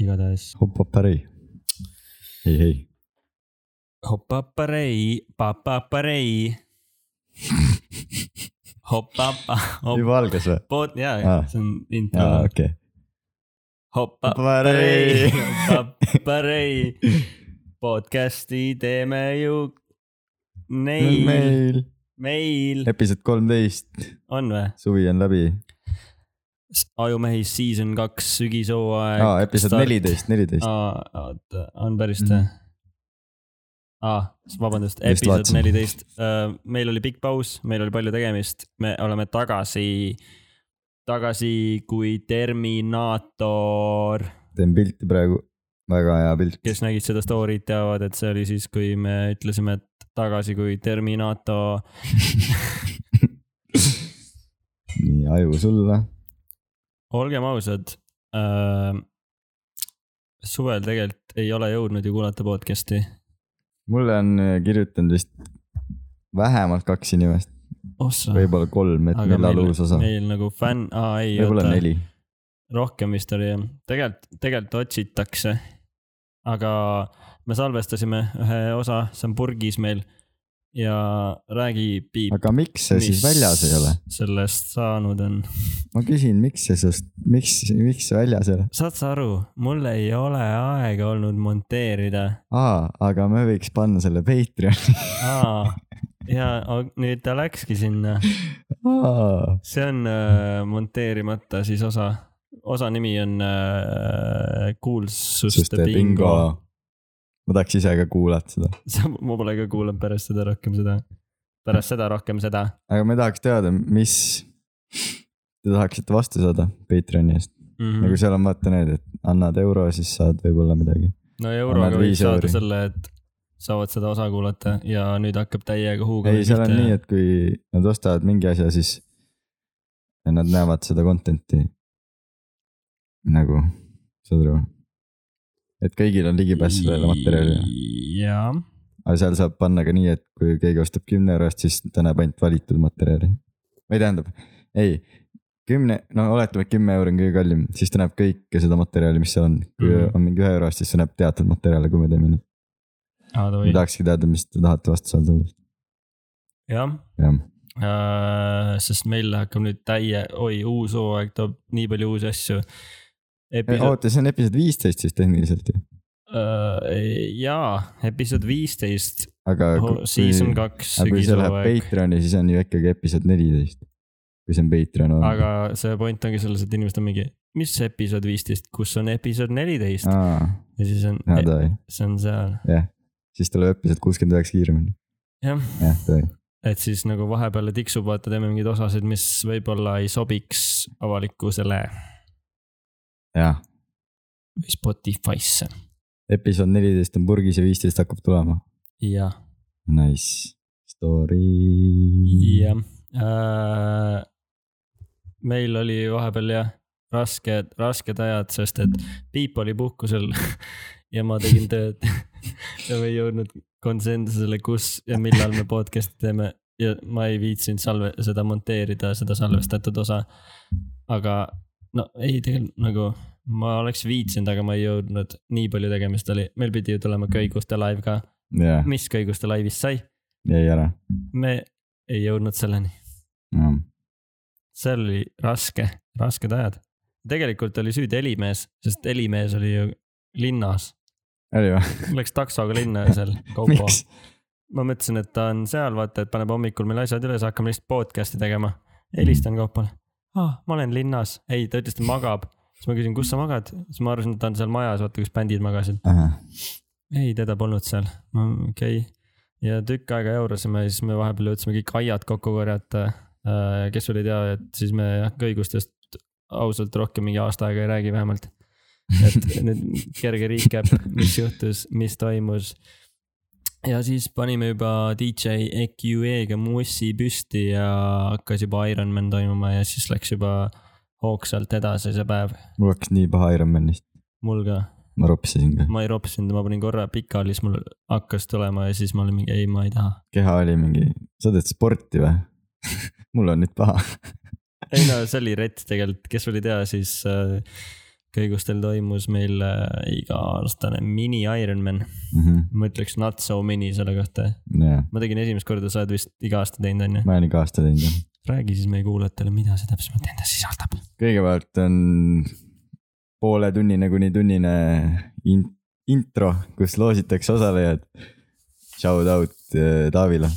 igatahes hopp-hopp-arei . ei , ei , hopaparei , papaparei . hopapa , hop- , juba algas või ? pot- , jaa Aa. ah. , see on intro aa , okei . hopaparei , hopaparei , podcast'i teeme ju neil , meil meil , episood kolmteist , on või ? suvi on läbi . ajumehis season kaks , sügishooaeg . aa , episood . neliteist , neliteist . oota , on päris Mhm. või ? ah, . vabandust , Just episood vaatasin. neliteist . meil oli pikk paus , meil oli palju tegemist , me oleme tagasi , tagasi kui Terminaator . teen pilti praegu , väga hea pilt . kes nägid seda story't , teavad , et see oli siis , kui me ütlesime , et tagasi kui Terminaator . nii , aju sulle . olgem ausad , suvel tegelikult ei ole jõudnud ju kuulata podcast'i . mulle on äh, kirjutanud vist vähemalt kaks inimest , ossa , võib-olla kolm , et Ah. aga millal meil, uus osa . meil nagu fänn , aa ei , võib-olla oota neli . rohkem vist oli jah , tegelikult , tegelikult otsitakse . aga me salvestasime ühe osa , see on purgis meil ja räägi piip . aga miks see siis väljas ei ole ?? sellest saanud on . ma küsin , miks see sest , miks , miks see väljas ei ole ? saad sa aru , mul ei ole aega olnud monteerida . aa , aga me võiks panna selle Patreoni . ja o- nüüd ta läkski sinna , aa , see on äh, monteerimata siis osa , osa nimi on äh, kuulsuste bingo, bingo. . ma tahaks ise ka kuulata seda , sa , ma pole ka kuulanud pärast seda rohkem seda , pärast seda rohkem seda . aga me tahaks teada , mis te tahaksite vastu saada Patreoni eest mm. . nagu seal on vaata need , et annad euro , siis saad võib-olla midagi . no euroga annad võib viis saada euri. selle , et saavad seda osa kuulata ja nüüd hakkab täiega huuga . ei , seal on nii , et kui nad ostavad mingi asja , siis nad näevad seda content'i nagu , saad aru ? et kõigil on ligipääs sellele materjalile , jaa , aga seal saab panna ka nii , et kui keegi ostab kümne eurost , siis ta näeb ainult valitud materjali . või tähendab , ei , kümne , no oletame , et kümme euri on kõige kallim , siis ta näeb kõike seda materjali , mis seal on . kui Mhm. on mingi ühe eurost , siis ta näeb teatud materjale , kui me teeme nii . aa ma Ah, davai , tahakski teada , mis te tahate vastu saada . jah . jah , sest meil hakkab nüüd täie , oi , uus hooaeg toob nii palju uusi asju . episood , oota , see on episood viisteist siis tehniliselt ju . Äh, jaa , episood viisteist , aga season kaks , aga Äh, kui see läheb sügishooaeg . Patreoni , siis on ju ikkagi episood neliteist . kui see on Patreon aga see point ongi selles , et inimesed on mingi , mis episood viisteist , kus on episood neliteist olnud . ja siis on , jaa , davai , see on seal , siis tuleb episood kuuskümmend üheksa kiiremini , jah . jah , davai . et siis nagu vahepeale tiksub , vaata , teeme mingeid osasid , mis võib-olla ei sobiks avalikkusele jah , või Spotify'sse episood neliteist on purgis ja viisteist hakkab tulema . ja , Nice , story . jah äh, . meil oli vahepeal jah , rasked , rasked ajad , sest et Piip oli puhkusel ja ma tegin tööd ja me ei jõudnud konsensusele , kus ja millal me podcast'i teeme ja ma ei viitsinud salve , seda monteerida , seda salvestatud osa . aga no ei , tegelikult nagu ma oleks viitsinud , aga ma ei jõudnud , nii palju tegemist oli , meil pidi ju tulema köiguste live ka , jah , mis köiguste live'ist sai , jäi ära , me ei jõudnud selleni , jah , seal oli raske , rasked ajad . tegelikult oli süüdi Helimees , sest Helimees oli ju linnas , oli või , läks taksoga linna ja seal kaupo miks ? ma mõtlesin , et ta on seal , vaata , et paneb hommikul meil asjad üles , hakkame lihtsalt podcast'i tegema . helistan Kaupale ah, , ma olen linnas , ei , ta ütles , et magab . siis ma küsin , kus sa magad , siis ma arvasin , et ta on seal majas , vaata , kus bändid magasid . ei , teda polnud seal , okei okay. . ja tükk aega jaurasime ja siis me vahepeal jõudsime kõik aiad kokku korjata . kes veel ei tea , et siis me jah, kõigustest ausalt rohkem mingi aasta aega ei räägi vähemalt . et nüüd kerge recap , mis juhtus , mis toimus ja siis panime juba DJ EQE-ga mussi püsti ja hakkas juba Ironman toimuma ja siis läks juba hoogsalt edasi see päev . mul hakkas nii paha Ironmanist , mul ka , ma ropsisin ka , ma ei ropsinud , ma panin korra pikali , siis mul hakkas tulema ja siis ma olin mingi ei , ma ei taha . keha oli mingi , sa teed sporti või ? mul on nüüd paha , ei no see oli rets tegelikult , kes veel ei tea , siis äh, köigustel toimus meil äh, iga-aastane mini Ironman . mm . ma ütleks not so mini selle kohta . -hmm. jaa , ma tegin esimest korda , sa oled vist iga aasta teinud , onju . ma olen iga aasta teinud jah . räägi siis meie kuulajatele , mida see täpsemalt endas sisaldab . kõigepealt on pooletunnine kuni tunnine in intro , kus loositakse osalejad . Shout out äh, Taavile .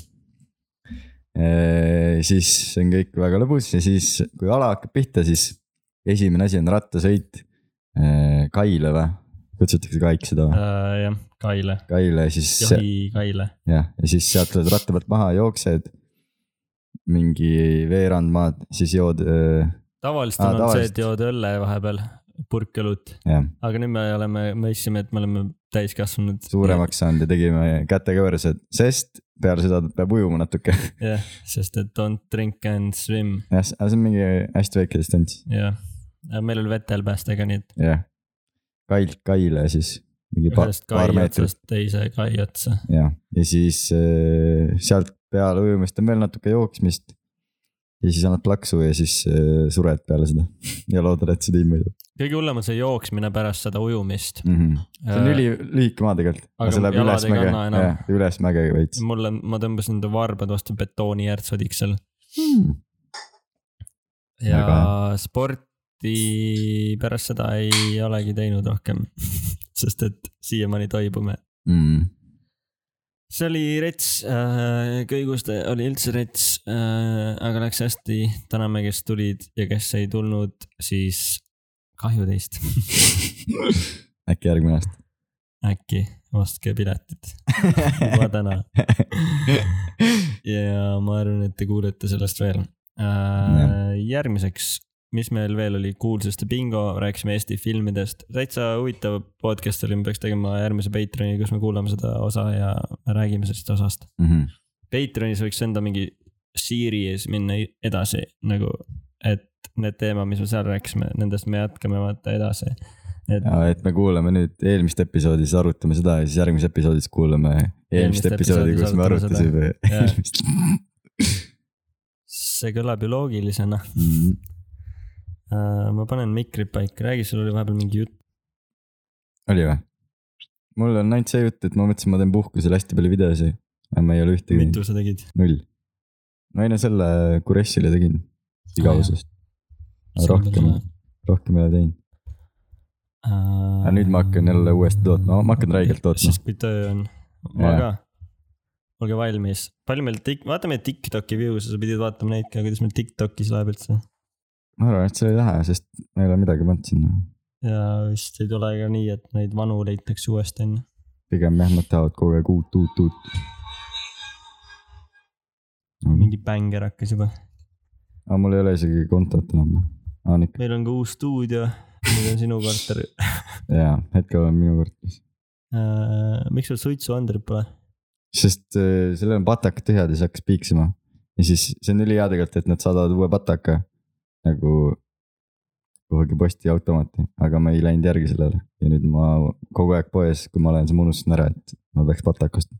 siis see on kõik väga lõbus ja siis , kui ala hakkab pihta , siis esimene asi on rattasõit äh, Kaile või , kutsutakse Kaiks seda või ? jah , Kaile , Kaile ja siis , jahi Kaile . jah , ja siis sealt tuled ratta pealt maha , jooksed mingi veerand maad , siis jood äh, , tavaliselt on Aa, olnud see , tavaliselt. et jood õlle vahepeal , purk õlut , jah aga nüüd me oleme , me ütlesime , et me oleme täiskasvanud . suuremaks saanud ja tegime kätekõversed , sest peale seda peab ujuma natuke . jah , sest et don't drink and swim , jah , see on mingi hästi väike distants , jah . meil oli vett hälbestega , nii et jah . Kail , Kaile siis mingi pa, ühest kai paar meetrit , otsast teise kai otsa . jah . ja siis äh, sealt peale ujumist on veel natuke jooksmist . ja siis annad plaksu ja siis äh, sured peale seda ja loodad , et see tiim võidab kõige hullem on see jooksmine pärast seda ujumist . mm . -hmm. see on ülilühike maa tegelikult , Äh, aga aga see läheb jalad ei ülesmäge kanna , enam. jah , ülesmäge veits mulle , ma tõmbasin enda varbad vastu betooni järtsodiks seal mm. . ja Väga sporti pärast seda ei olegi teinud rohkem . sest et siiamaani toibume . Mm. see oli rets äh, , kõiguste oli üldse rets äh, , aga läks hästi . täname , kes tulid ja kes ei tulnud , siis kahju teist äkki järgmine aasta . äkki ostke piletid juba täna . ja ma arvan , et te kuulete sellest veel Jah. äh, . järgmiseks , mis meil veel oli , kuulsuste bingo , rääkisime Eesti filmidest , täitsa huvitav podcast oli , me peaks tegema järgmise Patreoni , kus me kuulame seda osa ja räägime sellest osast . mm . -hmm. Patreonis võiks enda mingi series minna i- edasi nagu , et need teemad , mis me seal rääkisime , nendest me jätkame vaata edasi . et ja et me kuulame nüüd eelmist episoodi , siis arutame seda ja siis järgmises episoodis kuulame eelmist Eelmist episoodi , episoodis kus me arutame arutasime Jaa. eelmist . see kõlab ju loogilisena . Mhm. ma panen mikrid paika , räägi , sul oli vahepeal mingi jutt . oli või ? mul on ainult see jutt , et ma mõtlesin , ma teen puhkusel hästi palju videosi , aga ma ei ole ühtegi teinud , mitu sa tegid ? null . no ei no selle Kuressile tegin igavusest , rohkem , Äh, rohkem ei ole teinud . aga nüüd ma hakkan jälle uuesti tootma , ma hakkan räigelt tootma siis , kui töö on , ma Jaa. ka . olge valmis , palju meil tik- , vaata meie Tiktoki views'e , sa pidid vaatama neid ka , kuidas meil Tiktokis läheb üldse . ma arvan , et see ei lähe , sest ma ei ole midagi pannud sinna . ja vist ei tule ka nii , et neid vanu leitakse uuesti onju . pigem jah , nad tahavad kogu aeg uut , uut , uut . mingi bänger hakkas juba . aga mul ei ole isegi kontot enam . aa , on ikka , meil on ka uus stuudio , nüüd on sinu korter . jaa , hetkel on minu kord . Äh, miks sul suitsu Andrit pole ? sest äh, sellel on patakad tühjad ja siis hakkas piiksema . ja siis see on ülihea tegelikult , et nad saadavad uue pataka nagu kuhugi postiautomaati , aga ma ei läinud järgi sellele ja nüüd ma kogu aeg poes , kui ma olen , siis ma unustasin ära , et ma peaks pataka ostma .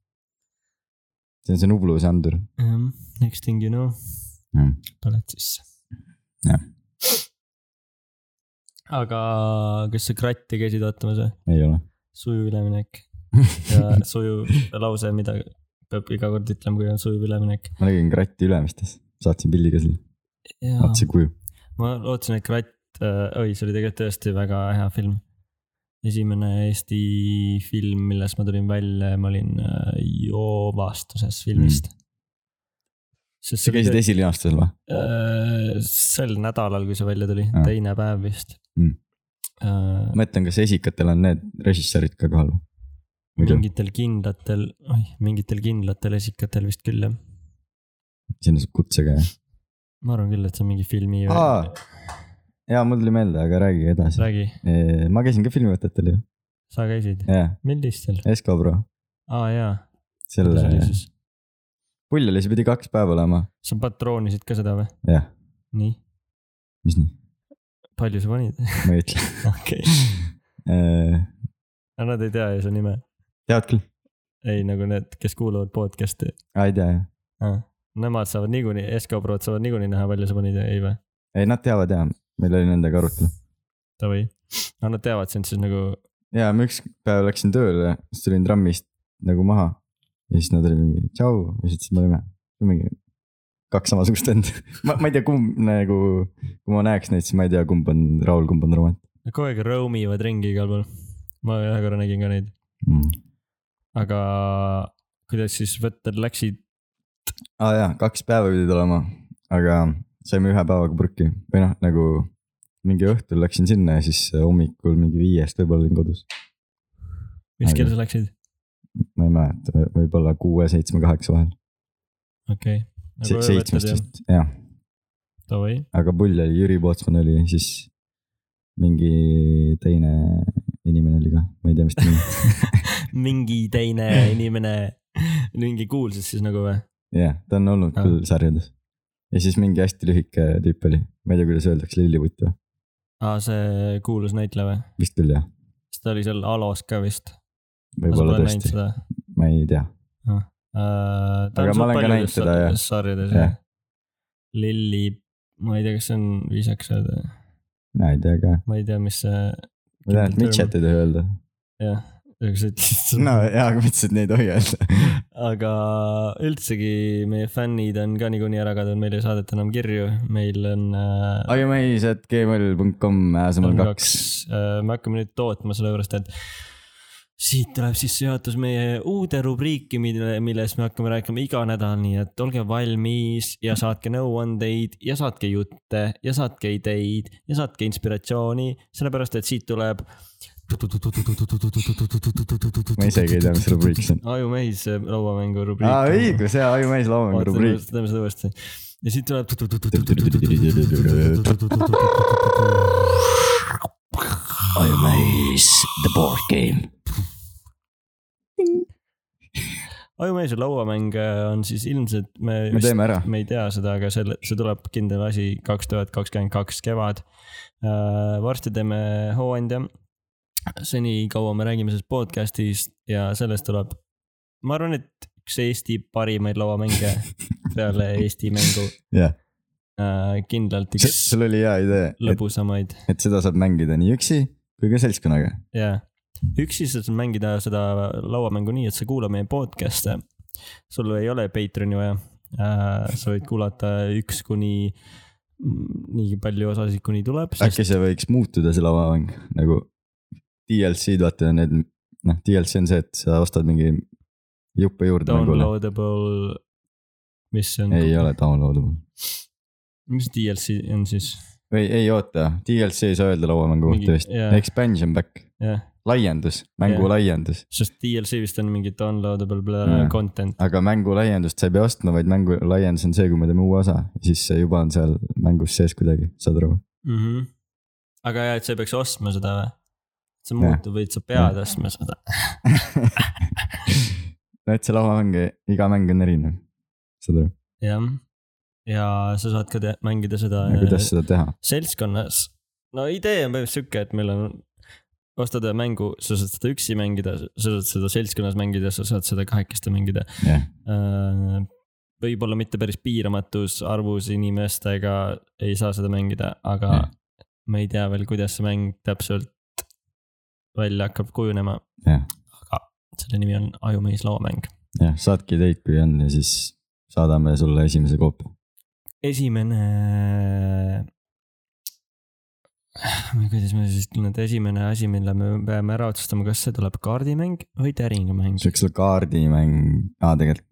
see on see Nublu , see andur . Ehm, Next thing you know Jah. , tuled sisse Jah. . aga kas sa kratti käisid vaatamas või ? ei ole . sujuv üleminek ja sujuv lause , mida peab iga kord ütlema , kui on sujuv üleminek . ma nägin Krati Ülemistes , saatsin pildi ka sulle , vaatasin kuju . ma lootsin , et kratt , oi , see oli tegelikult tõesti väga hea film . esimene Eesti film , milles ma tulin välja , ma olin äh, joovastuses filmist mm. . sest sa käisid esilinastusel või ? Äh, sel nädalal , kui see välja tuli Aa. ah. , teine päev vist Mm. Äh, ma mõtlen , kas esikatel on need režissöörid ka kohal või ? muidu mingitel kindlatel , oih , mingitel kindlatel esikatel vist küll jah . sinna saab kutsega ja . ma arvan küll , et see on mingi filmi . Aa. jaa , mul tuli meelde , aga räägi edasi . räägi , ma käisin ka filmivõtetel ju , sa käisid , jaa , millistel ? Esko Pro , aa ah, jaa , selle kuidas oli , siis ? pull oli , see pidi kaks päeva olema , sa patroonisid ka seda või ? jah , nii , mis nii , palju sa panid ? ma ei ütle . okei , nad ei tea ju su nime . tead küll , ei , nagu need , kes kuulavad podcast'i aa ei tea jah , ah. . Nemad saavad niikuinii , Esko Prod saavad niikuinii näha , palju sa panid , ei või ? ei nad teavad jah , meil oli nendega arutelu , davai . no nad teavad sind siis nagu , ja ma üks päev läksin tööle , siis tulin trammist nagu maha ja siis nad olid mingi tšau ja siis me olime mingi kaks samasugust vend . ma , ma ei tea , kumb nagu , kui ma näeks neid , siis ma ei tea , kumb on Raul , kumb on Roman nad kogu aeg roamivad ringi igal pool . ma ühe korra nägin ka neid , mm. . aga kuidas siis võtted läksid , aa ah, jaa , kaks päeva pidid olema , aga saime ühe päevaga purki või noh , nagu mingi õhtul läksin sinna ja siis hommikul mingi viiest võib-olla olin kodus . mis Aga- kell sa läksid ? ma ei mäleta , võib-olla kuue , seitsme , kaheksa vahel okei Nagu Se . seitsmest davai , vist , Nagu jah . aga pull oli , Jüri Pootsman oli , siis mingi teine inimene oli ka , ma ei tea , mis ta nimi on . mingi teine inimene , mingi kuulsus siis nagu või ? jah , ta on olnud Aa. küll sarjades . ja siis mingi hästi lühike tüüp oli , ma ei tea , kuidas öeldakse , lilliputt või ? aa , see kuulus näitleja või ? vist küll jah , sest ta oli seal Alos ka vist . võib-olla tõesti , seda . ma ei tea . Äh, ta Aga on ma suht olen ka näinud paljudes seda, jah. sarjades- sarjades Jah. jah . Lilli , ma ei tea , kas see on viisakas öelda , ma ei tea ka , ma ei tea , mis see , ma tean , et Kindel Mitchet ei tohi öelda . jah , aga sa ütlesid seda no jaa , aga ma ütlesin , et neid ei tohi öelda . aga üldsegi meie fännid on ka niikuinii ära kadunud , meil ei saadeta enam kirju , meil on äh, imaise.gmail.com on ääsemal kaks Äh, kaks ., me hakkame nüüd tootma sellepärast , et siit tuleb sissejuhatus meie uude rubriiki , mille , milles me hakkame rääkima iga nädal , nii et olge valmis ja saatke nõuandeid ja saatke jutte ja saatke ideid ja saatke inspiratsiooni , sellepärast et siit tuleb . ma isegi ei tea , mis rubriik see on . ajumähis äh, lauamängu rubriik . aa , õigus , jaa , Aimaise loomingu rubriik . teeme seda uuesti . ja siit tuleb . Aimaise , the board game . ajumees ja lauamäng on siis ilmselt me me vist , teeme ära . me ei tea seda , aga selle , see tuleb kindel asi kaks tuhat kakskümmend kaks kevad . varsti teeme hooandja . senikaua me räägime sellest podcast'ist ja sellest tuleb , ma arvan , et üks Eesti parimaid lauamänge peale Eesti mängu . jah , kindlalt üks sul oli hea idee , et , lõbusamaid et seda saab mängida nii üksi kui ka seltskonnaga . jaa , üksi sa saad mängida seda lauamängu nii , et sa kuulad meie podcast'e . sul ei ole Patreon'i vaja . sa võid kuulata üks kuni , nii palju osasid , kuni tuleb , sest äkki see võiks muutuda , see lauamäng nagu DLC-d , vaata need , noh , DLC on see , et sa ostad mingi juppe juurde mängule . downloadable , mis see on , ei ole downloadable . mis DLC on siis ? või ei oota , DLC ei saa öelda lauamängu Mingi- kohta vist jaa. , expansion back , jah , laiendus , mängu Jah. laiendus . sest DLC vist on mingi downloadable bla- Jaa. content , aga mängu laiendust sa ei pea ostma , vaid mängu laiendus on see , kui me teeme uue osa , siis see juba on seal mängus sees kuidagi , saad aru ? Mhm. aga jaa , et sa ei peaks ostma seda või ? see Jah. muutub , vaid sa pead ostma seda . no et see lauamäng , iga mäng on erinev , saad aru , jah , ja sa saad ka te- mängida seda äh, ja kuidas seda teha ? seltskonnas . no idee on põhimõtteliselt sihuke , et meil on , ostad ühe mängu , sa saad seda üksi mängida , sa saad seda seltskonnas mängida , sa saad seda kahekesti mängida Äh, Jah. . võib-olla mitte päris piiramatus arvus inimestega ei saa seda mängida , aga Jah. me ei tea veel , kuidas see mäng täpselt välja hakkab kujunema . Jah. aga selle nimi on Ajumees lauamäng . jah , saatke ideid , kui on ja siis saadame sulle esimese koopia . esimene . kuidas ma siis ütlen , et esimene asi , mille me peame ära otsustama , kas see tuleb kaardimäng või täringumäng see võiks olla kaardimäng , aa tegelikult ,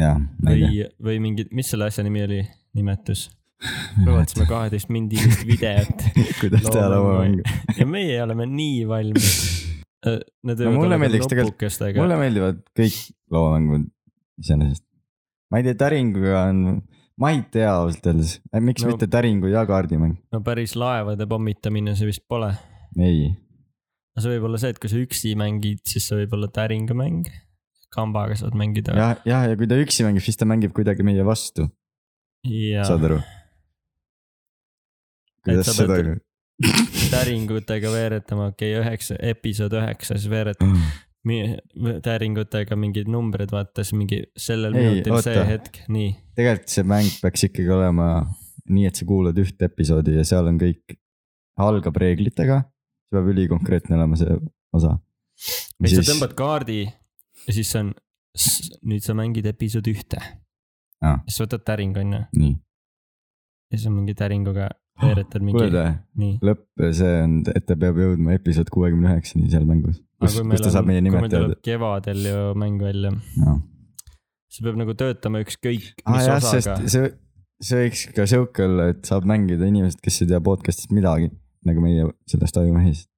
jah , ma ei või , või mingi , mis selle asja nimi oli , nimetus ? me tea . vaatasime kaheteist mindilist videot kuidas teha lauamängu . ja meie oleme nii valmis . Need No võivad mulle olla meeldiks küll tegelikult- nopukestega mulle meeldivad kõik lauamängud iseenesest . ma ei tea , täringuga on , ma ei tea ausalt öeldes , miks No- no. mitte täringu ja kaardimäng , no päris laevade pommitamine see vist pole . ei . see võib olla see , et kui sa üksi mängid , siis see võib olla täringumäng . kambaga saad mängida . jah , jah , ja kui ta üksi mängib , siis ta mängib kuidagi meie vastu , ja saad aru ? kuidas sa seda pead- täringutega veeretama , okei okay, , üheksa , episood üheksa , siis veeretad täringutega mingid numbrid , vaata siis mingi sellel Ei, minutil oota. see hetk , nii . tegelikult see mäng peaks ikkagi olema nii , et sa kuulad ühte episoodi ja seal on kõik algab reeglitega , see peab ülikonkreetne olema see osa . või sa tõmbad kaardi ja siis on , nüüd sa mängid episood ühte . Aa. siis võtad täring , onju , nii , ja siis on mingi täringuga Ah, veeretad mingi , kuule , nii . lõpp , see on , et ta peab jõudma episood kuuekümne üheksani seal mängus , kus , kus ta saab meie nimed teada . kevadel ju mäng välja , see peab nagu töötama ükskõik mis aa ah, jah , sest osaga . see , see võiks ka sihuke olla , et saab mängida inimesed , kes ei tea podcast'ist midagi , nagu meie sellest ajumehest .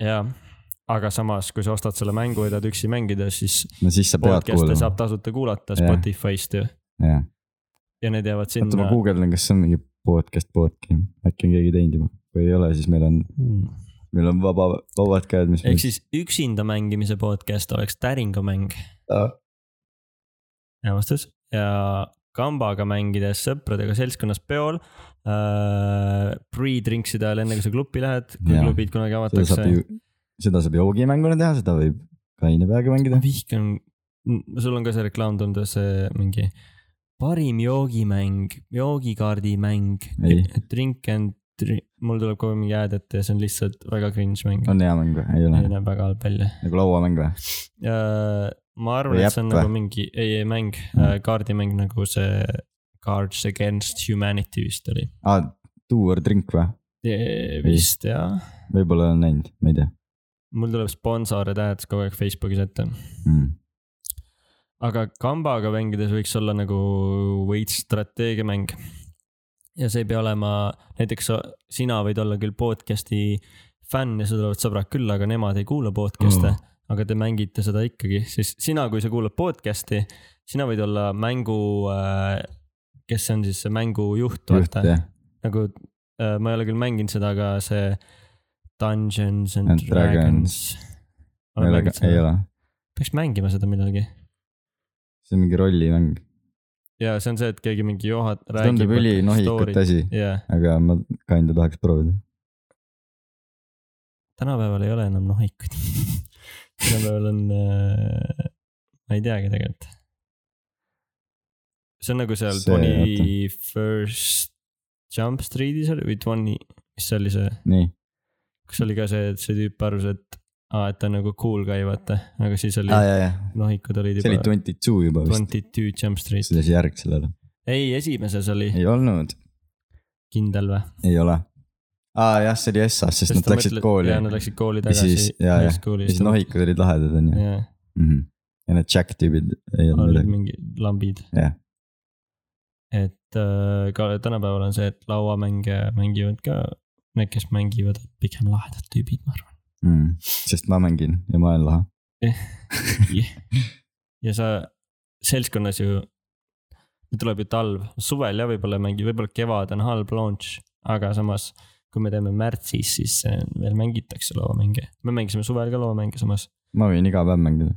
jaa , aga samas , kui sa ostad selle mängu ja tahad üksi mängida , siis no siis sa pead podcast'e kuulama saab , tasuta kuulata Jah. Spotify'st ju jah . ja need jäävad oota , ma sinna . guugeldan , kas see on mingi podcast , podcast , äkki on keegi teinud juba , kui ei ole , siis meil on , meil on vaba , vabad käed , mis . Mm. ehk siis üksinda mängimise podcast oleks täringumäng ja vastus ja kambaga mängides sõpradega seltskonnas peol äh, . Pre-drinkside ajal , enne kui sa klubi lähed , kui Jaa. klubid kunagi seda avatakse saab . ju , seda saab joogimänguna teha , seda võib kaine peaga mängida ma . vihkan , sul on ka see reklaam tulnud , see mingi parim joogimäng , joogikaardimäng Ei. , drink and drink , mul tuleb kogu aeg mingi ad ette ja see on lihtsalt väga cringe mäng . on hea mäng või ? ei ole ei , näeb väga halb välja . nagu lauamäng või ? ma arvan , Või et see on äpp või? nagu mingi , ei , ei mäng , kaardimäng nagu see Cards Against Humanity vist oli . aa , do or drink või ? vist jah , võib-olla olen näinud , ma ei tea mul tuleb sponsorid ad kogu aeg Facebookis ette mm. . aga kambaga mängides võiks olla nagu veits strateegiamäng . ja see ei pea olema , näiteks sa- sina võid olla küll podcast'i fänn ja sul tulevad sõbrad küll , aga nemad ei kuula podcast'e Mm. mm. aga te mängite seda ikkagi , siis sina , kui sa kuulad podcast'i , sina võid olla mängu , kes see on siis see mängujuht , juht vaata , jah , nagu äh, ma ei ole küll mänginud seda , aga see Dungeons and, And and Dragons, Dragons. ma ei ole ka , ei Dragons. ole . peaks mängima seda millalgi . see on mingi rollimäng . ja see on see , et keegi mingi juhat- . tundub ülinohikat asi , jah , aga ma kinda tahaks proovida . tänapäeval ei ole enam nohikuid . tänapäeval on äh, , ma ei teagi tegelikult . see on nagu seal See, Twenty First Jump Street'is oli või Twenty , mis see oli see , nii , kus oli ka see , et see tüüp arvas , et aa , et ta on nagu cool guy , vaata , aga siis oli aa ah, , jaa , jaa , nohikud olid see oli juba twenty two juba vist , Twenty Two Jump Street . see oli see järg sellele . ei , esimeses oli ei olnud , kindel või ? ei ole . aa jah , see oli SA-s , sest nad läksid kooli jaa , nad läksid kooli Ja tagasi siis- jaa, jah. high school'i . ja siis nohikud olid lahedad , onju . jah , ja need Jack tüübid ei olnud olid midagi . mingid lambid . Jah. et äh, ka tänapäeval on see , et lauamänge mängivad ka need , kes mängivad , pigem lahedad tüübid , ma arvan . mm. . sest ma mängin ja ma olen lahe . ja sa seltskonnas ju , tuleb ju talv , suvel jah , võib-olla ei mängi , võib-olla kevad on halb launch , aga samas kui me teeme märtsis , siis see on- veel mängitakse lauamänge . me mängisime suvel ka lauamänge samas ma võin iga päev mängida .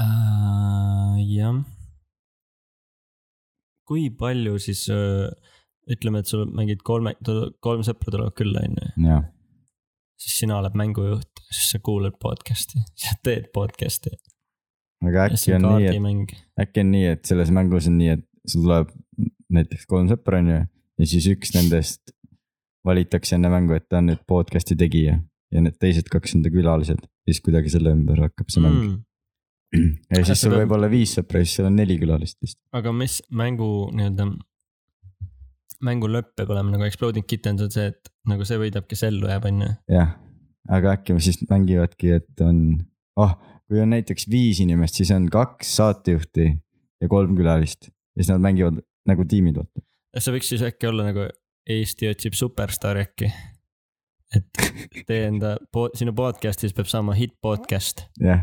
Äh, jah . kui palju siis öö, ütleme , et sul mängid kolme , kolm sõpra tulevad külla , onju , jaa , siis sina oled mängujuht , siis sa kuulad podcast'i , sa teed podcast'i . aga ja see äkki on on nii , kaardimäng , et äkki on nii , et selles mängus on nii , et sul tuleb näiteks kolm sõpra on ju ja siis üks nendest valitakse enne mängu , et ta on nüüd podcast'i tegija ja need teised kaks on ta külalised , siis kuidagi selle ümber hakkab see mäng mm. . mm. . ja siis sul Seda- võib olla viis sõpra ja siis sul on neli külalist vist . aga mis mängu nii-öelda , mängu lõpp peab olema nagu Exploding Kittens on see , et nagu see võidab , kes ellu jääb , onju . jah , aga äkki me siis mängivadki , et on , oh , kui on näiteks viis inimest , siis on kaks saatejuhti ja kolm külalist ja siis nad mängivad nagu tiimid , vaata . see võiks siis äkki olla nagu Eesti otsib superstaari äkki . et tee enda , sinu podcast'is peab saama hitt podcast . jah ,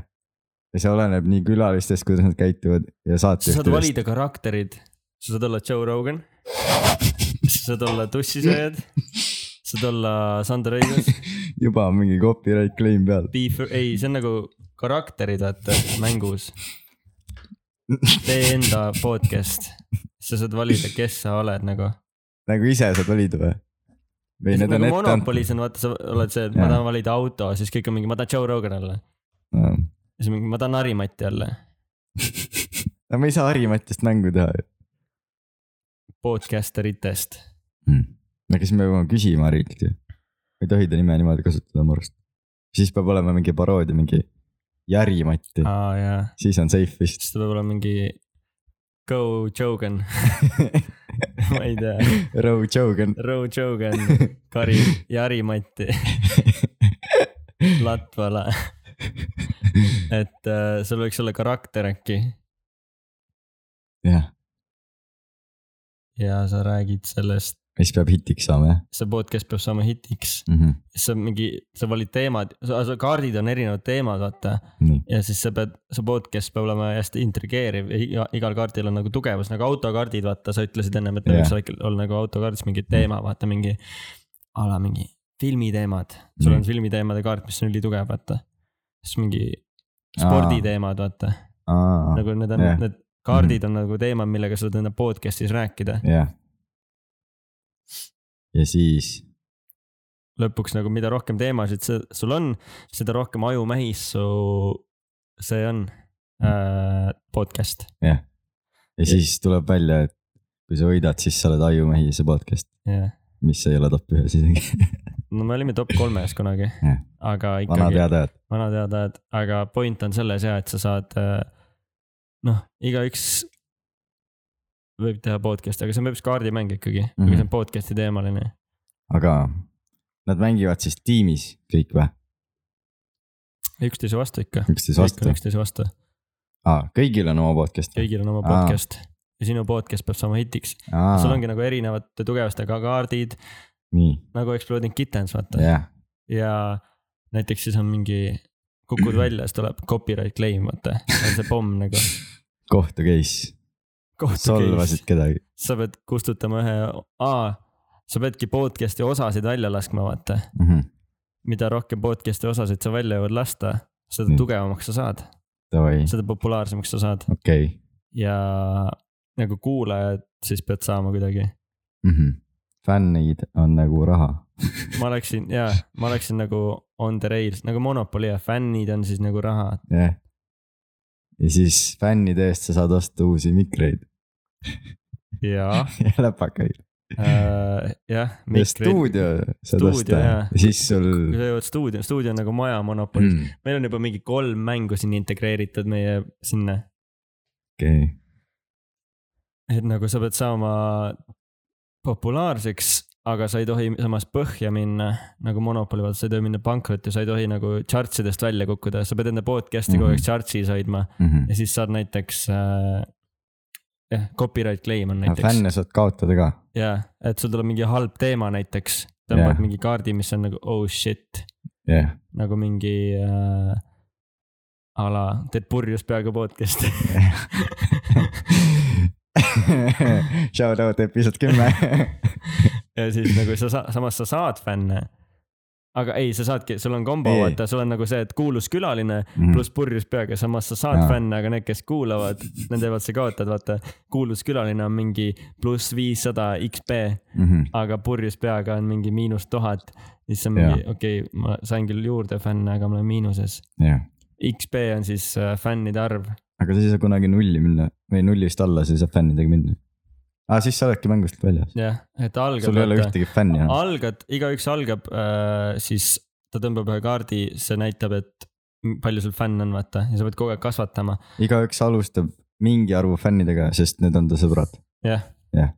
ja see oleneb nii külalistest , kuidas nad käituvad ja sa saad saatejuhtidest . valida karakterid , sa saad olla Joe Rogan , sa saad olla tussisööjad , sa saad olla Sander Õigus , juba on mingi copyright claim peal . Beef , ei , see on nagu karakterid , vaata , mängus . tee enda podcast , sa saad valida , kes sa oled nagu . nagu ise saad valida või ? või need on nagu ette antud monopolis on , vaata , sa oled see , et ma Jaa. tahan valida auto , siis kõik on mingi , ma tahan Joe Rogan olla . no. ? ja siis mingi , ma tahan Harimati olla , aga me ei saa Harimatist mängu teha ju podcaster itest . mm. . aga siis me peame küsima Harilt ju . ei tohi ta nime niimoodi kasutada mu arust . siis peab olema mingi paroodia , mingi Järimatti , aa jaa , siis on safe vist . siis ta peab olema mingi Go Jogan , ma ei tea , Roe Jogan . Row Jogan , Kari , Jari-Matti , Latvala , et äh, sul võiks olla karakter äkki jah , ja sa räägid sellest , mis peab hitiks saama jah see podcast peab saama hitiks , mm . -hmm. siis sa mingi , sa valid teemad , kaardid on erinevad teemad , vaata nii , ja siis sa pead , su podcast peab olema hästi intrigeeriv ja iga- igal kaardil on nagu tugevus , nagu autokaardid , vaata , sa ütlesid ennem , et neil Jah. Mm. võiks olla- olla nagu autokaardis mingi teema , vaata mingi . a la mingi filmiteemad , sul on Mhm. filmiteemade kaart , mis on ülitugev , vaata . siis mingi Aa. sporditeemad , vaata , aa , nagu need on jah. Mm. need kaardid on nagu teemad , millega sa saad enda podcast'is rääkida . jah . ja siis , lõpuks nagu mida rohkem teemasid sa- sul on , seda rohkem ajumähis su , see on Mm. äh, podcast . ja siis tuleb välja , et kui sa võidad , siis sa oled Aiumehi see podcast , jah , mis ei ole top ühes isegi . no me olime top kolmes kunagi Jah. , aga vanad ikkagi head ajad , vanad teadajad , aga point on selles ja , et sa saad . noh , igaüks võib teha podcast'i , aga see on veebis kaardimäng ikkagi mm , -hmm. Mhm. aga see on podcast'i teemaline . aga nad mängivad siis tiimis kõik või , üksteise vastu ikka . üksteise vastu ? üksteise vastu , aa , kõigil on oma podcast ? kõigil on oma Aa. podcast ja sinu podcast peab saama hitiks . aa sul , ongi nagu erinevate tugevustega kaardid nii , nagu Exploding Kittens , vaata jah , ja näiteks siis on mingi , kukud välja , siis tuleb copyright claim , vaata , see on see pomm nagu . kohtu case , solvasid kedagi , sa pead kustutama ühe , aa , sa peadki podcast'i osasid välja laskma , vaata . Mhm, mida rohkem podcast'i osasid sa välja jõuad lasta , seda Mm. mm. tugevamaks sa saad , davai , seda populaarsemaks sa saad okei . ja nagu kuulajad siis pead saama kuidagi . Mhm. fännid on nagu raha , ma oleksin jaa , ma oleksin nagu on the rails nagu Monopoly ja fännid on siis nagu raha . jah . ja siis fännide eest sa saad osta uusi mikreid jaa ja läpakaid . äh, , jah . ja stuudio saad Stuudio, osta jaa. ja siis sul . kui sa jõuad stuudio , stuudio on nagu maja Monopolis mm. , okei , meil on juba mingi kolm mängu siin integreeritud meie sinna , et nagu sa pead saama populaarseks , aga sa ei tohi samas põhja minna nagu Monopoli , vaata sa ei tohi minna pankrotti , sa ei tohi nagu charts idest välja kukkuda , sa pead enda podcast'i kogu aeg Mhm. chartsis hoidma ja siis saad näiteks äh, . jah , copyright claim on näiteks fänne saad kaotada ka , ja et sul tuleb mingi halb teema näiteks , tõmbad Jah. yeah. mingi kaardi , mis on nagu oh shit jah . nagu mingi äh, a la teed purjus peaga podcast'i . Shout out episood kümme . ja siis nagu sa sa- , samas sa saad fänne . aga ei , sa saadki , sul on kombo , Ei. Mm. vaata , sul on nagu see , et kuulus külaline pluss purjus peaga , samas sa saad Jaa. fänne , aga need , kes kuulavad , nende pealt sa kaotad , vaata . kuulus külaline on mingi pluss viissada XP , aga purjus peaga on mingi miinus tuhat . siis see on mingi , okei okay, , ma sain küll juurde fänne , aga ma olen miinuses . jah , XP on siis äh, fännide arv aga sa ei saa kunagi nulli minna või nullist alla , sa ei saa fännidega minna . aa , siis sa oledki mängust väljas . jah , et algab . sul ei ole ühtegi fänni enam . algad , igaüks algab äh, , siis ta tõmbab ühe kaardi , see näitab , et m- palju sul fänn on , vaata , ja sa pead kogu aeg kasvatama . igaüks alustab mingi arvu fännidega , sest need on ta sõbrad . jah Jah. .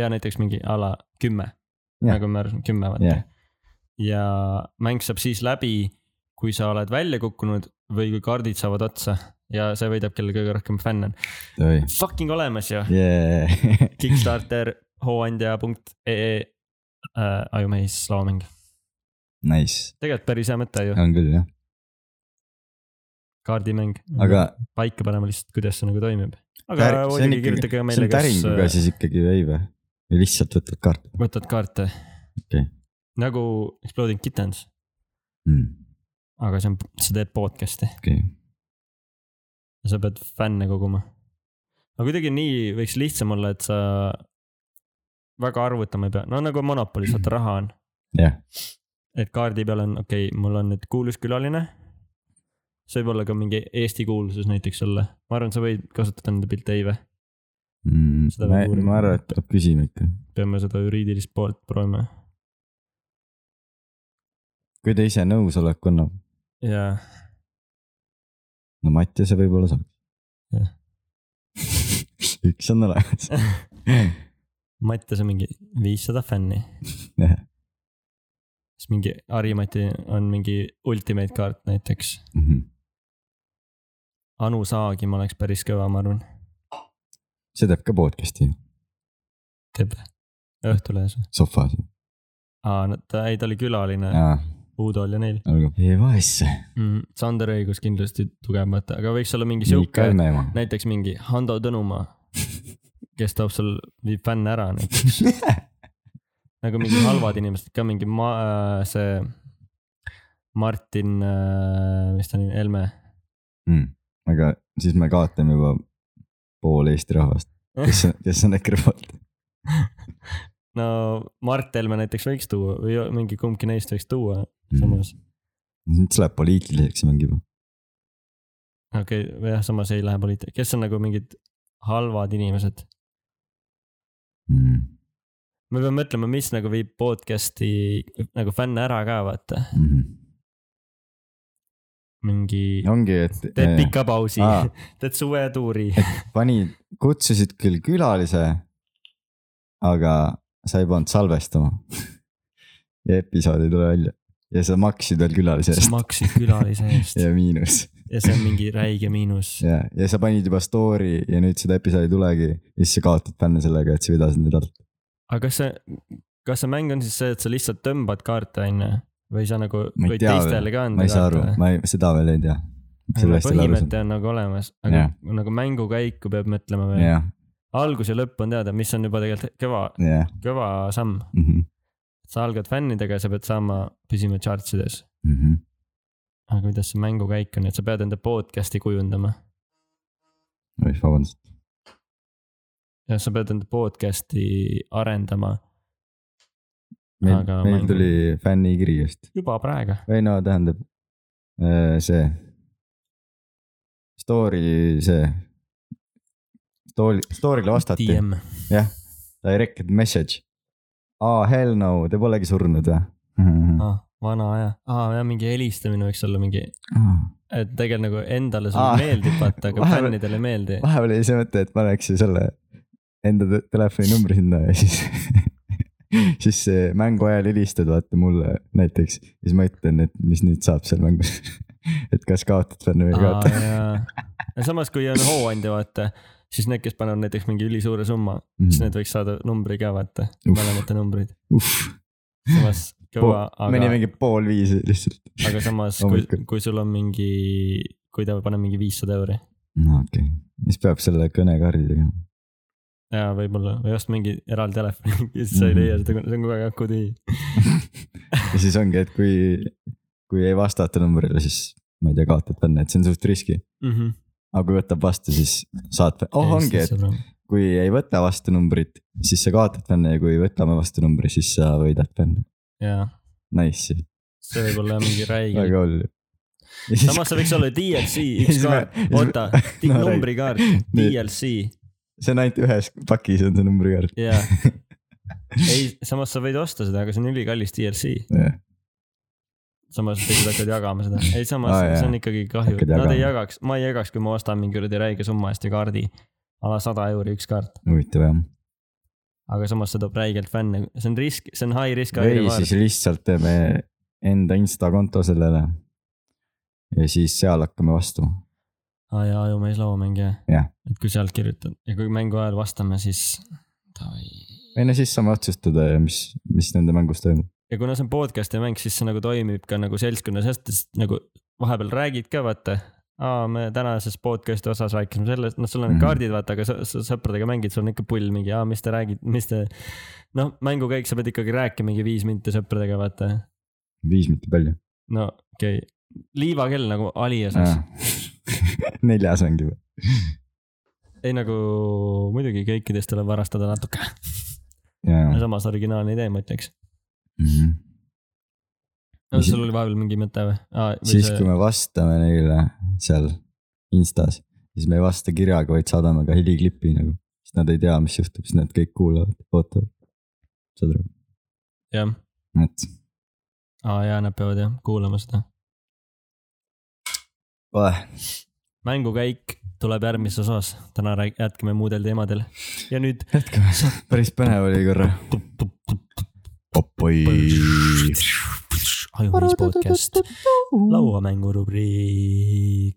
ja näiteks mingi a la kümme , Jah. nagu me arvasime , kümme , Jah. vaata . ja mäng saab siis läbi , kui sa oled välja kukkunud või kui kaardid saavad otsa ja see võidab , kellel kõige rohkem fänn on . Fucking olemas ju , Kickstarter hooandja.ee äh, , ajumehis laomäng , Nice , tegelikult päris hea mõte ju , on küll jah , kaardimäng . aga paika panema lihtsalt , kuidas see nagu toimib . aga tär- see on muidugi kirjutage ikkagi , see meile , on täringuga kes siis ikkagi või ei või ? või lihtsalt võtad kaarte äh, võtad kaarte Okei. . nagu Exploding Kittens , mm, ? aga see on , sa teed podcast'i okei okay. , ja sa pead fänne koguma . aga kuidagi nii võiks lihtsam olla , et sa väga arvutama ei pea , no nagu Monopolis , vaata raha on . jah , et kaardi peal on , okei okay, , mul on nüüd kuulus külaline . see võib olla ka mingi Eesti kuulsus näiteks olla , ma arvan , sa võid kasutada nende pilte , ei või ? Seda Mm, ma peab uurima. ma arvan , et peab küsima ikka . peame seda juriidilist poolt proovima . kui ta ise nõusoleku annab , ja no Mattiase võib-olla Jah. saaks . üks on olemas . Mattias on mingi viissada fänni , siis mingi Harimati on mingi ultimate kaart näiteks . Mhm. Anu Saagim oleks päris kõva , ma arvan , see teeb ka podcast'i ju, teeb Õhtulehes . sofas . aa , no ta , ei ta oli külaline , olgu , Uudo oli neil ei vaesse . mm, . Sander Õigus kindlasti tugev mõte , aga võiks olla mingi ikka sihuke , emme ema . näiteks mingi Hando Tõnumaa , kes toob sul , viib fänne ära näiteks . nagu mingi halvad inimesed ka mingi ma- , see Martin , mis ta nimi , Helme . aga siis me kaotame juba pool Eesti rahvast , kes , kes on EKRE poolt . no Mart Helme näiteks võiks tuua või mingi kumbki neist võiks tuua Mm. samas . nüüd see läheb Mm. poliitiliseks mingi juba . okei okay, , jah , samas ei lähe poliitika , kes on nagu mingid halvad inimesed . Mm, me peame mõtlema , mis nagu viib podcast'i nagu fänne ära ka vaata , mhm. mingi . ongi , et . eh, teed pika pausi Aa. , teed suvetuuri . panid , kutsusid küll külalise , aga sa ei pannud salvestama . ja episood ei tule välja ja sa maksid veel külalise sa eest maksid külalise eest ja miinus ja see on mingi räige miinus . ja , ja sa panid juba story ja nüüd seda episoodi ei tulegi ja siis sa kaotad fänne sellega , et sa vedasid neid alt . aga kas see , kas see mäng on siis see , et sa lihtsalt tõmbad kaarte , onju ? või sa nagu Ma ei võid tea veel. teistele ka anda ma ei saa aru , ma ei , seda veel ei tea . sellest ei ole aru saanud . põhimõte on nagu olemas , aga Jah. nagu mängukäiku peab mõtlema veel . jah , algus ja lõpp on teada , mis on juba tegelikult kõva , jah . Mhm, kõva samm . sa algad fännidega , sa pead saama püsima charts ides . mhm. aga kuidas see mängukäik on , et sa pead enda podcast'i kujundama oih , vabandust . ja sa pead enda podcast'i arendama meil Aga , meil mängu- tuli fännikiri just . juba praegu . või no tähendab äh, see story , see story , story'le vastati , DM . jah , direct message . aa , hell no , te polegi surnud või ? ah, . vana aja ah, , mingi helistamine võiks olla mingi , et tegelikult nagu endale sulle Aa. ah, meeldib , vaata , aga Vahepeal- fännidele ei meeldi . vahepeal oli see mõte , et paneks ju selle enda te- telefoninumbri sinna ja siis , siis see mängu ajal helistad vaata mulle näiteks . siis ma ütlen , et mis nüüd saab seal mängus . et kas kaotad fänni või ei kaota . ja samas , kui on hooandja , vaata , siis need , kes panevad näiteks mingi ülisuure summa , siis need võiks saada numbri ka , vaata , Mm. Uff. mõlemate numbrid . Uff , samas kõva , me aga , nimegi pool viis lihtsalt . aga samas , kui hommikul. , kui sul on mingi , kui ta paneb mingi viissada euri no okei okay. , siis peab selle kõnekaardi tegema . ja võib-olla , või osta mingi eraldi telefoni , siis sa ei leia seda , see on kogu aeg aku tühi . ja siis ongi , et kui , kui ei vastata numbrile , siis ma ei tea , kaotad fänni , et see on suht riski . Mhm. aga kui võtab vastu , siis saad , oh ongi , et kui ei võta vastu numbrit , siis sa kaotad fänne ja kui võtame vastu numbri , siis sa võidad fänne . jaa , Nice , see võib olla mingi räige väga hull . samas see võiks olla DLC , üks kaart , oota , no, numbrikaart , Nii. DLC see on ainult ühes pakis on see numbrikaart . ja ei , samas sa võid osta seda , aga see on ülikallis DLC , samas teised hakkavad jagama seda , ei samas Aa, oh, jaa. see on ikkagi kahju , Hakkad nad jagama. ei jagaks , ma ei jagaks , kui ma ostan mingi kuradi räige summa eest ju kaardi , a la sada euri üks kaart , huvitav jah . aga samas see toob räigelt fänne , see on risk , see on high risk . või siis lihtsalt teeme enda insta konto sellele . ja siis seal hakkame vastu . aa jaa , ajumees lauamängija Jah. . et kui sealt kirjutad ja kui mängu ajal vastame , siis davai . ei no siis saame otsustada , mis , mis nende mängus toimub . ja kuna see on podcast'i mäng , siis see nagu toimib ka nagu seltskonnas hästi , sest nagu vahepeal räägid ka vaata . aa , me tänases podcast'i osas rääkisime sellest , noh , sul on need Mhm. kaardid , vaata , aga sa, sa sõpradega mängid , sul on ikka pull mingi , aa , mis te räägite , mis te . noh , mängukäik , sa pead ikkagi rääkima mingi viis minti sõpradega , vaata . viis mitte palju . no okei okay. , liivakell nagu Alias , eks . neljas ongi või ? ei nagu muidugi kõikidest tuleb varastada natuke , jaa . Mhm. samas originaalne idee , ma ütleks . no Mis- sul oli vahepeal mingi mõte või ah, ? siis , kui me vastame neile seal Instas , siis me ei vasta kirjaga , vaid saadame ka heliklipi nagu . siis nad ei tea , mis juhtub , siis nad kõik kuulavad , ootavad . saad aru , jah , et aa jaa , nad peavad jah kuulama seda . kohe . mängukäik tuleb järgmises osas , täna rääg- , jätkame muudel teemadel ja nüüd . jätkame , päris põnev oli korra . opoi . ajumis podcast , lauamängurubriik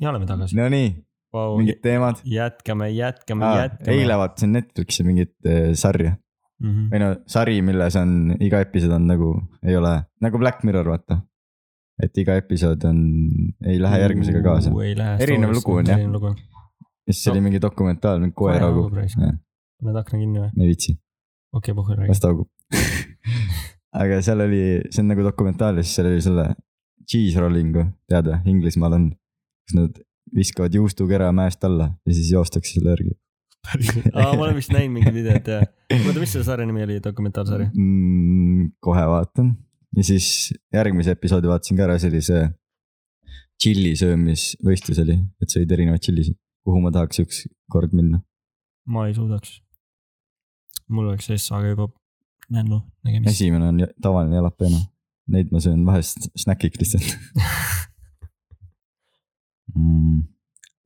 ja oleme tagasi . Nonii , Wow. mingid teemad . jätkame , jätkame ah, , jätkame . eile vaatasin Netflixi mingit eh, sarja mm . -hmm. või no sari , milles on iga episood on nagu , ei ole nagu Black Mirror , vaata . et iga episood on , ei lähe järgmisega kaasa . ei lähe . Erinev lugu on, jah. erinev lugu . siis see oli mingi dokumentaal , mingi koer Koer haugub haugub raisk. . paned akna kinni või ? ei viitsi , okei okay, , puhul räägi . las ta haugub . aga seal oli , see on nagu dokumentaal ja siis seal oli selle cheese rolling'u , tead või , Inglismaal on . kus nad viskavad juustukera mäest alla ja siis joostakse selle järgi . aa , ma olen vist näinud mingit videot ja . oota , mis selle sarja nimi oli , dokumentaalsari ? Mhm. mm, . kohe vaatan ja siis järgmise episoodi vaatasin ka ära , see oli see tšilli söömisvõistlus oli , et sõid erinevaid tšillisid , kuhu ma tahaks ükskord minna . ma ei suudaks . mul oleks ees aga juba nännu nägemist . esimene on ja- tavaline jalapeno , neid ma söön vahest snäkiks lihtsalt mm. .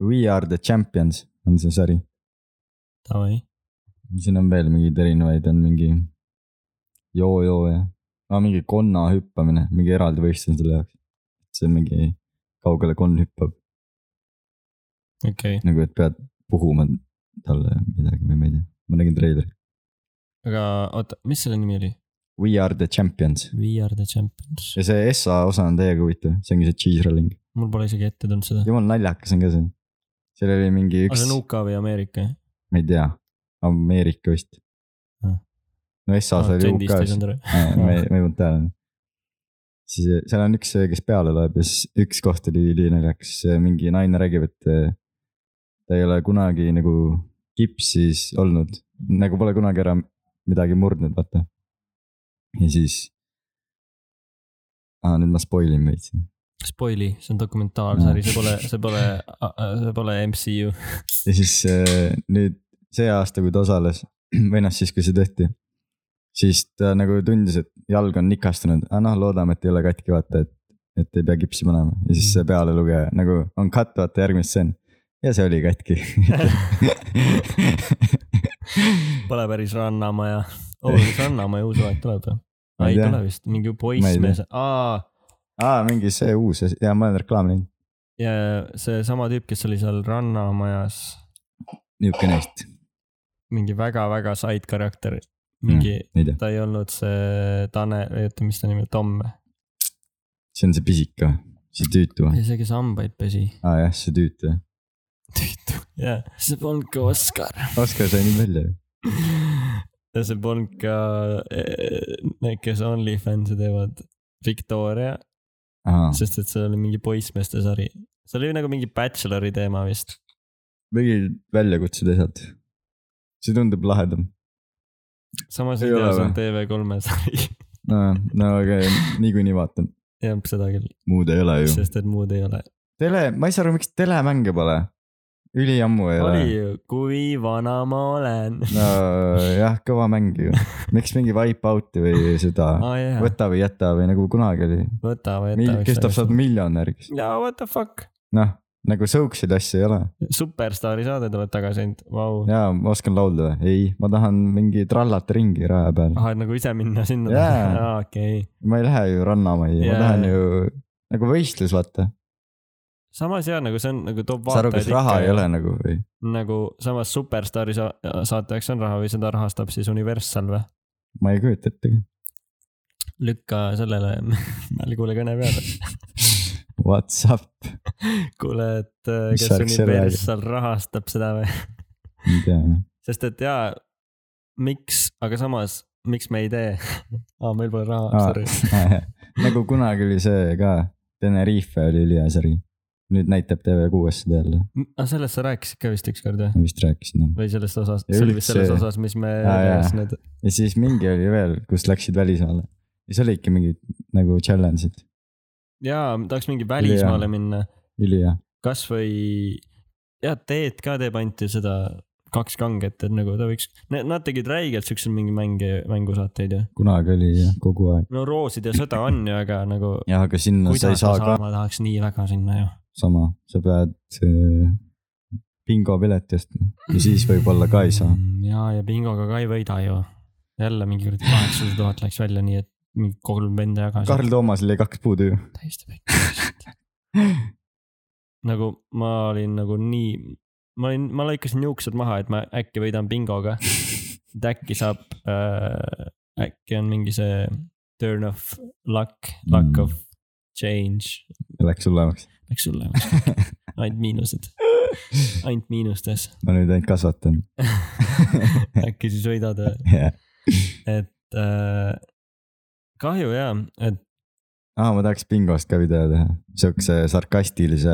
We are the champions on see sari , Davai , siin on veel mingeid erinevaid , on mingi joo-joo ja ah, mingi konna hüppamine , mingi eraldi võistlus on selle jaoks . see on mingi kaugele konn hüppab . okei okay. , nagu , et pead puhuma talle midagi või ma ei tea , ma nägin treileri . aga oota , mis selle nimi oli ? We are the champions We are the champions . ja see SA osa on täiega huvitav , see ongi see cheese rolling , mul pole isegi ette tulnud seda . jumal naljakas on ka see . seal oli mingi aga üks Ah, see , on UK või Ameerika ? ma ei tea , Ameerika vist Ah. . no SA-s Ah, oli UK-s , ma Äh, ei , ma ei pannud tähele . siis eh, seal on üks , kes peale loeb ja siis üks koht oli ülinaljakas , mingi naine räägib , et eh, ta ei ole kunagi nagu kipsis olnud , nagu pole kunagi ära midagi murdnud , vaata . ja siis . aa , nüüd ma spoil in veits . Spoili , see on dokumentaalsari , see pole , see pole , see pole MCU . ja siis eh, nüüd see aasta , kui ta osales või noh , siis kui see tehti . siis ta nagu tundis , et jalg on nikastunud , aga noh , loodame , et ei ole katki , vaata , et , et ei pea kipsi panema ja siis see pealelugeja nagu on cut , vaata järgmine stseen . ja see oli katki Pole päris Rannamaja . oo , kas Rannamaja uus aeg tuleb või ? Ma ei ei tea. tule vist , mingi Ma ei tea. poissmees , aa , aa , Ah, mingi see uus ja ma olen reklaami näinud , ja seesama tüüp , kes oli seal Rannamajas , niuke neist , mingi väga-väga side karakter , mingi , ei tea , ta ei olnud see Tanel , oota , mis ta nimi , Tom või ? see on see pisik või , see tüütu või , ja see , kes hambaid pesi . aa jah , see tüütu jah , tüütu . jaa , see polnud ka Oskar . Oskar sai nüüd välja ju , ja see polnud ka eh, need , kes OnlyFans'e teevad , Victoria , aa , sest et see oli mingi poissmeeste sari . see oli nagu mingi bachelor'i teema vist . mingi väljakutsed asjad , see tundub lahedam samas Ei ei tea ole , see on TV3-e sari . no, . no aga niikuinii vaatan , jah , seda küll , muud ei ole ju . sest et muud ei ole . tele , ma ei saa aru , miks telemänge pole . üliammu ei ole oli . ju , kui vana ma olen . nojah , kõva mäng ju . miks mingi Wipeout'i või seda aa Ah, jaa , võta või jäta või nagu kunagi oli . võta või kes tahab saada . miljonäriks . jaa , what the fuck . noh , nagu siukseid asju ei ole . superstaari saade tuleb tagasi ainult , vau . jaa , ma oskan laulda või ? ei , ma tahan mingi trallata ringi raja peal . ahah , et nagu ise minna sinna Jaa. yeah. . aa , okei okay. . ma ei lähe ju rannamajja , ma Jaa. tahan ju nagu võistlus , vaata . samas jaa , nagu see on nagu toob sa aru , kas raha ei ole nagu või ? nagu samas superstaari sa- saateks on raha või seda rahastab siis Universal või ? ma ei kujuta ette . lükka sellele mälgule kõne peale . What's up ? kuule , et äh, Mis kas värk selle Universal rahastab seda või ? ei tea jah. sest et jaa , miks , aga samas , miks me ei tee ? aa , meil pole raha , Aa. sorry . nagu kunagi oli see ka , Tenerife oli ülihea sari . nüüd näitab TV6-s seda jälle , aga sellest sa rääkisid ka vist ükskord või ? ma vist rääkisin jah . või sellest osast , Ei, see oli vist selles üldse- osas , mis me Aa, jaa. rääkisime , et ja siis mingi oli veel , kus läksid välismaale . ja see oli ikka mingi nagu challenge'id , jaa , tahaks mingi välismaale minna , ülihea . kasvõi , jaa , Teet ka teeb ainult ju seda kaks kanget , et nagu ta võiks , nad tegid räigelt siukse mingi mänge , mängusaateid ju . kunagi oli jah , kogu aeg . no Roosid ja sõda on ju , aga nagu . jah , aga sinna sa ei saa ka ma tahaks nii väga sinna ju . sama , sa pead äh, bingopileti ostma ja siis võib-olla ka ei saa . Mm, ja , ja bingoga ka ei võida ju . jälle mingi kuradi kaheksasada tuhat läks välja , nii et mingi kolm venda jagas . Karl Toomasel jäi kaks puudu ju . täiesti väike . nagu ma olin nagu nii , ma olin , ma lõikasin juuksed maha , et ma äkki võidan bingoga . et äkki saab äh, , äkki on mingi see turn of luck , luck Mm. mm. of change . Läks hullemaks . Läks sulle , ainult miinused , ainult miinustes . ma nüüd ainult kasvatan . äkki siis võidad , jah . et äh, kahju jaa , et aa , Ah, ma tahaks bingost ka video teha , siukse sarkastilise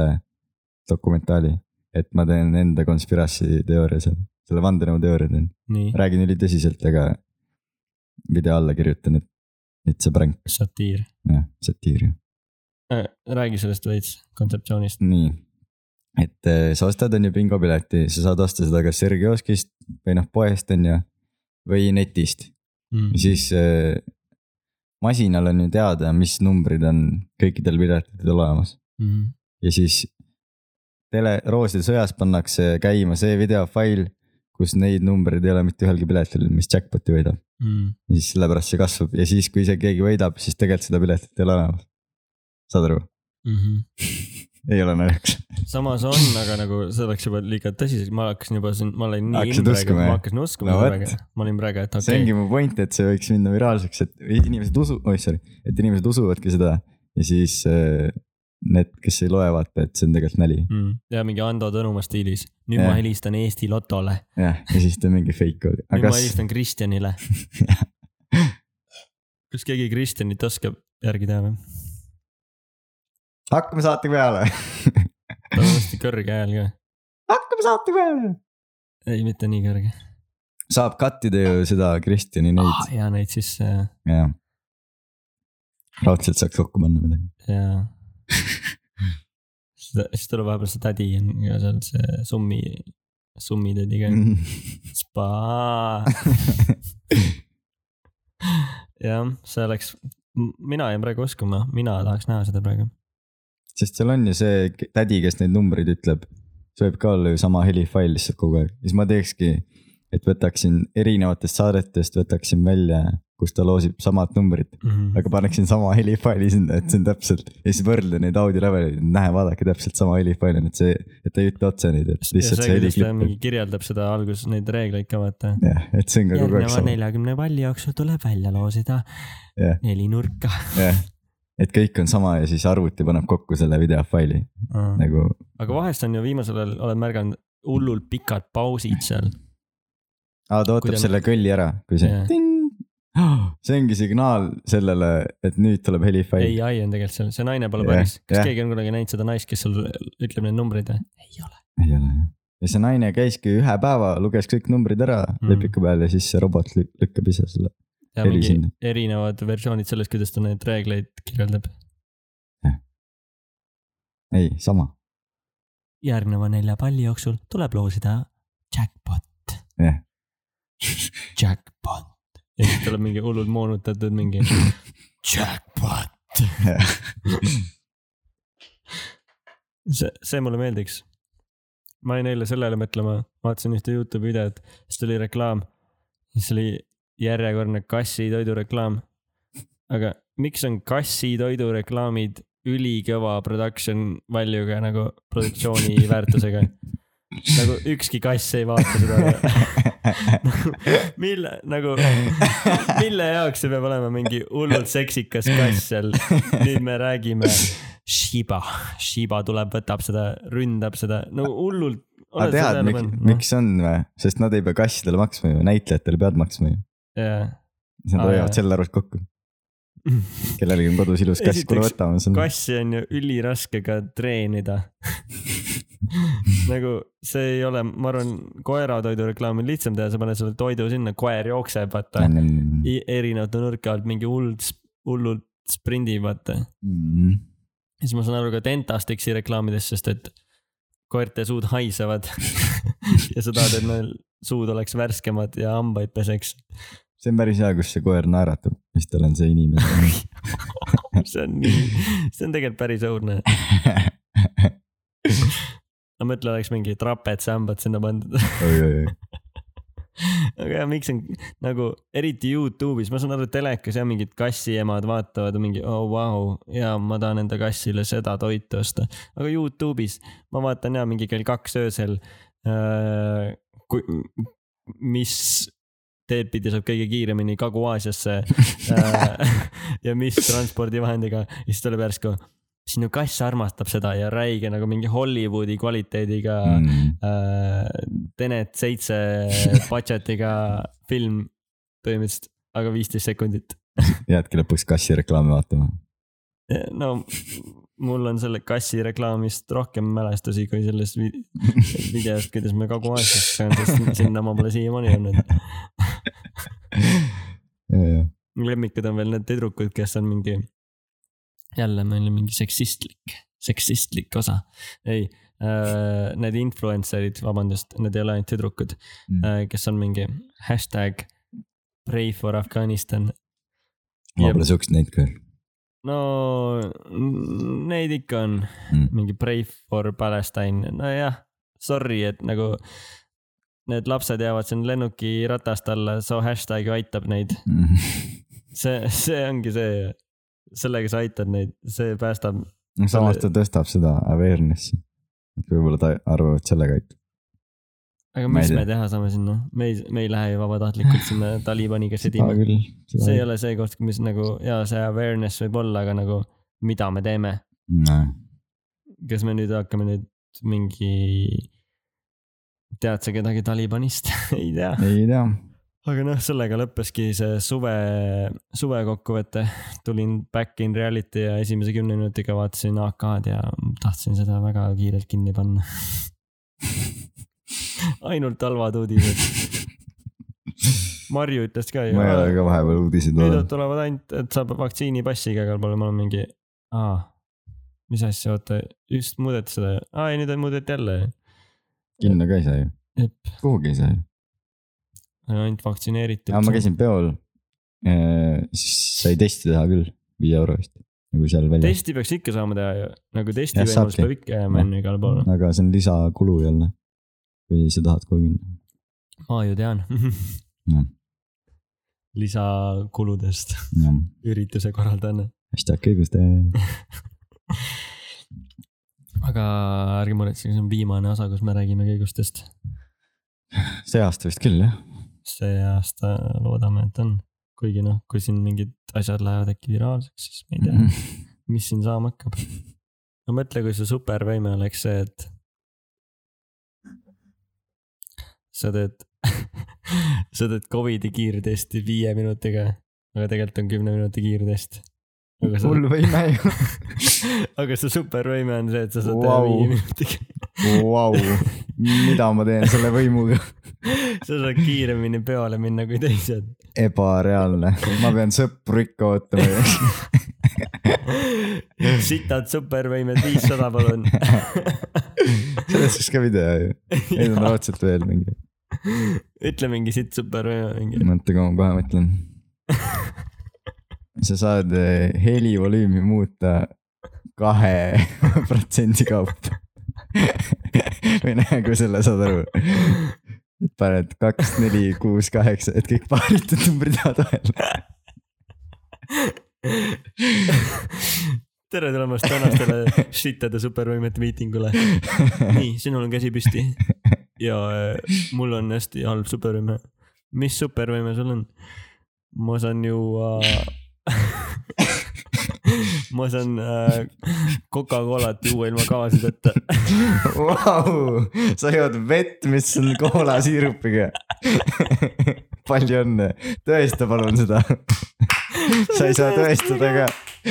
dokumentaali , et ma teen enda conspiracy teooria seal , selle vandenõuteooria teen , nii , räägin ülitõsiselt , aga video alla kirjutan , et it's a prank , satiir . jah , satiir ju . räägi sellest veits kontseptsioonist . nii , et eh, sa ostad on ju bingopileti , sa saad osta seda kas sirgkioskist või noh , poest on ju , või netist Mm, ja siis eh, masinal on ju teada , mis numbrid on kõikidel piletitel olemas mm. . ja siis tele , Rooside sõjas pannakse käima see videofail , kus neid numbreid ei ole mitte ühelgi piletil , mis jackpot'i võidab . Mm. ja siis sellepärast see kasvab ja siis , kui isegi keegi võidab , siis tegelikult seda piletit ei ole olemas . saad aru ? Mm -hmm. ei ole naljakas . samas on , aga nagu see oleks juba liiga tõsiselt , ma hakkasin juba siin , ma olin nii Hakkasid imbrega , uskuma, ma jah? hakkasin uskuma No no, vot. praegu , ma olin praegu , et see okei okay. ongi mu point , et see võiks minna viraalseks , et inimesed usu- , oih sorry , et inimesed usuvadki seda ja siis äh, need , kes ei loe , vaata , et see on tegelikult nali . mm. . ja mingi Ando Tõnumaa stiilis , nüüd Jah. ma helistan Eesti Lotole , jah , ja siis ta on mingi fake oli . nüüd aga ma kas , helistan Kristjanile . kas keegi Kristjanit oskab järgi teha või ? hakkame saate peale , tal on hästi kõrge hääl ka , hakkame saate peale . ei mitte nii kõrge . saab cut ida ju seda Kristjani neid ah. , ja neid siis ja jah . raudselt saaks kokku panna midagi . seda , siis tuleb vahepeal see tädi on ka seal see summi , summi tädi Mm. ka , spa . jah , see oleks , mina jään praegu uskuma , mina tahaks näha seda praegu . sest seal on ju see k- tädi , kes neid numbreid ütleb . see võib ka olla ju sama helifail lihtsalt kogu aeg , siis ma teekski , et võtaksin erinevatest saadetest , võtaksin välja , kus ta loosib samad numbrid . Mm aga paneksin sama helifaili sinna , et see on täpselt ja siis võrdlen neid audioleveleid , näe , vaadake täpselt sama helifail on , et see , et ta ei ütle otse neid , et ja lihtsalt see , see kuidas ta heliklipp . mingi kirjeldab seda alguses neid reegleid ka vaata . jah , et see Nagu on ka kogu aeg järgneva sama , neljakümne palli jooksul tuleb välja loosida Jah. neli nurka . jah . et kõik on sama ja siis arvuti paneb kokku selle videofaili nagu aga vahest on ju viimasel ajal , oled märganud , hullult pikad pausid seal . aa , ta Kui ootab ta- selle kõlli ära , kui see Jah. ting . see ongi signaal sellele , et nüüd tuleb helifail . ei , ai on tegelikult seal , see naine pole Jah, päris . kas jah. keegi on kunagi näinud seda naist , kes seal ütleb neid numbreid või ? ei ole . ei ole jah . ja see naine käiski ühe päeva , luges kõik numbrid ära Mm. mm. lepiku peal ja siis see robot lük- lükkab ise selle . ja Heli mingi sinna. erinevad versioonid sellest , kuidas ta neid reegleid kirjeldab . ei , sama , järgneva nelja palli jooksul tuleb loosida jackpot . jah . Jackpot . ja siis tuleb mingi hullult moonutatud mingi jackpot . see , see mulle meeldiks . ma jäin eile sellele mõtlema , vaatasin ühte Youtube'i videot , siis tuli reklaam , siis oli järjekordne kassitoidu reklaam . aga miks on kassitoidu reklaamid ülikõva production value'ga nagu produktsiooni väärtusega ? nagu ükski kass ei vaata seda , mille nagu , mille jaoks see peab olema mingi hullult seksikas kass seal , nüüd me räägime . Shiba , Shiba tuleb , võtab seda , ründab seda , no hullult . aga tead , Ah, miks , noh. miks on või , sest nad ei pea kassidele maksma ju , näitlejatele peavad maksma ju . jaa , siis nad Aa, hoiavad jah. selle arvelt kokku , kellelgi on kodus ilus kass , kuule Esiteks, võtame selle . kassi on ju üliraske ka treenida . nagu see ei ole , ma arvan , koeratoidu reklaami on lihtsam teha , sa paned selle toidu sinna , koer jookseb , vaata . I- erinevate nurka alt mingi hullult , hullult sprindib , vaata . Mm. ja siis ma saan aru ka Dentastixi reklaamidest , sest et koerte suud haisevad . ja sa tahad , et neil suud oleks värskemad ja hambaid peseks . see on päris hea , kus see koer naeratab , siis tal on see inimene . see on nii , see on tegelikult päris õudne . no mõtle , oleks mingi trapet , sambad sinna pandud . oi-oi-oi , aga jah , miks on nagu eriti Youtube'is , ma saan aru , telekas ja mingid kassiemad vaatavad mingi , oo oh, vau wow, , ja ma tahan enda kassile seda toitu osta . aga Youtube'is ma vaatan ja mingi kell kaks öösel äh, . mis teed pidi saab kõige kiiremini Kagu-Aasiasse äh, ja mis transpordivahendiga , siis tuleb järsku sinu kass armastab seda ja räige nagu mingi Hollywoodi kvaliteediga mm. äh, Tenet seitse budget'iga film põhimõtteliselt , aga viisteist sekundit . jäädki lõpuks kassi reklaame vaatama . no mul on selle kassi reklaamist rohkem mälestusi kui sellest vi videost , kuidas me kogu aeg sain , sest sinna ma pole siiamaani olnud . mu lemmikud on veel need tüdrukud , kes on mingi , jälle meil on mingi seksistlik , seksistlik osa . ei äh, , need influencer'id , vabandust , need ei ole ainult tüdrukud , Mm. äh, kes on mingi hashtag pray for Afganistan . ma pole siukest näinud ka . no n- neid ikka on Mm. mingi pray for Palestine , nojah , sorry , et nagu need lapsed jäävad siin lennuki ratast alla , so hashtag ju aitab neid , see , see ongi see , sellega sa aitad neid , see päästab . samas ta tõstab seda awareness'i . et võib-olla ta arvab , et sellega aitab . aga Ma ei mis tea. me teha saame sinna , me ei , me ei lähe ju vabatahtlikult sinna Talibaniga sõdima . küll . see ei ole see koht , mis nagu ja see awareness võib olla , aga nagu mida me teeme , ole . kas me nüüd hakkame nüüd mingi . tead sa kedagi Talibanist ? ei tea . ei tea . aga noh , sellega lõppeski see suve , suve kokkuvõte . tulin back in reality ja esimese kümne minutiga vaatasin AK-d ja tahtsin seda väga kiirelt kinni panna . ainult halvad uudised . Marju ütles ka ju . ma ei ole ka vahepeal uudiseid nüüd vaadanud . tulevad ainult , et saab vaktsiinipassiga igal pool , ma olen mingi , aa , mis asja , oota , just muudeti seda , aa ei nüüd on- muudeti jälle . kinno ka ei saa ju . jep , kuhugi ei saa ju . ainult vaktsineeritud . aga ma . käisin peol . siis sai testi teha küll , viie euro eest . nagu seal väljas . testi peaks ikka saama teha ju , nagu testi Jah, võimalus saabki. peab ikka jääma on ju igal pool , aga see on lisakulu jälle . kui sa tahad kuhugi minna . ma ju tean Jah. . lisakuludest , jah , ürituse korraldajana . hashtag õiguste . aga ärge muretsege , see on viimane osa , kus me räägime kõigustest . see aasta vist küll jah . see aasta loodame , et on , kuigi noh , kui siin mingid asjad lähevad äkki viraalseks , siis me ei tea . mis siin saama hakkab ? no mõtle , kui su supervõime oleks see , et sa teed , sa teed Covidi kiirtesti viie minutiga , aga tegelikult on kümne minuti kiirtest . aga sa , hull võime ju . aga su supervõime on see , et sa saad Vau. teha viie minutiga . Vau , mida ma teen selle võimuga ? sa saad kiiremini peole minna kui teised . ebareaalne , ma pean sõpru ikka ootama ju . sitad supervõimed viissada , palun . sellest võiks ka video ju . Neid on raudselt veel mingi . ütle mingi sitt supervõime mingi . mõtle , kui ma kohe mõtlen . sa saad eh, helivolüümi muuta kahe protsendi kaupa . või noh , kui selle saad aru . paned kaks , neli , kuus , kaheksa , et kõik paaritud numbrid jäävad vahele . tere tulemast tänastele Shitade supervõimete miitingule . nii , sinul on käsi püsti ja äh, mul on hästi halb supervõime . mis supervõime sul on ? ma saan juua ma saan äh, Coca-Colat juua ilma kavasideta . Vau , sa jood vett , mis on koolasiirupiga . palju õnne , tõesta palun seda . sa ei saa tõestada ka .